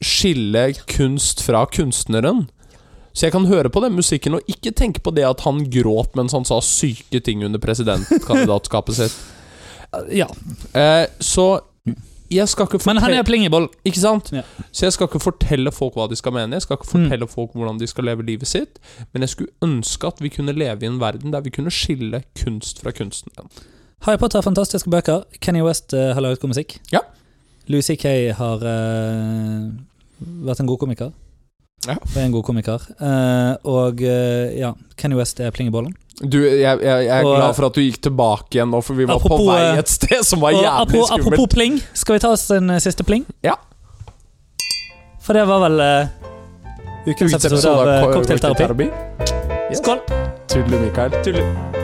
[SPEAKER 1] skille kunst fra kunstneren. Så jeg kan høre på den musikken og ikke tenke på det at han gråt mens han sa syke ting under presidentkandidatskapet sitt.
[SPEAKER 2] ja.
[SPEAKER 1] Eh, så jeg skal ikke
[SPEAKER 2] Men han
[SPEAKER 1] fortelle
[SPEAKER 2] er pling i bollen.
[SPEAKER 1] Ikke sant?
[SPEAKER 2] Ja. Mm.
[SPEAKER 1] Så jeg skal ikke fortelle folk hva de skal mene, jeg skal ikke fortelle folk hvordan de skal leve livet sitt, men jeg skulle ønske at vi kunne leve i en verden der vi kunne skille kunst fra kunstneren.
[SPEAKER 2] Harry Potter har fantastiske bøker. Kenny West eh, har laget god musikk.
[SPEAKER 1] Ja.
[SPEAKER 2] Louis C.K. har eh, vært en god komiker.
[SPEAKER 1] Ja.
[SPEAKER 2] Og er en god komiker. Eh, og eh, ja, Kenny West er pling i bollen.
[SPEAKER 1] Du, jeg, jeg, jeg er
[SPEAKER 2] Og- eh,
[SPEAKER 1] glad for at du gikk tilbake igjen nå, for vi var
[SPEAKER 2] Apropos,
[SPEAKER 1] på vei
[SPEAKER 2] eh,
[SPEAKER 1] et sted som var
[SPEAKER 2] Og
[SPEAKER 1] jævlig
[SPEAKER 2] apropos,
[SPEAKER 1] skummelt.
[SPEAKER 2] apropos pling, skal vi ta oss en eh, siste pling?
[SPEAKER 1] Ja.
[SPEAKER 2] For det var vel eh, ukens episode av eh, Cocktailterapi.
[SPEAKER 1] Cocktailterapi.
[SPEAKER 2] Skål!
[SPEAKER 1] Tudelu, Mikael.
[SPEAKER 2] Tudelu.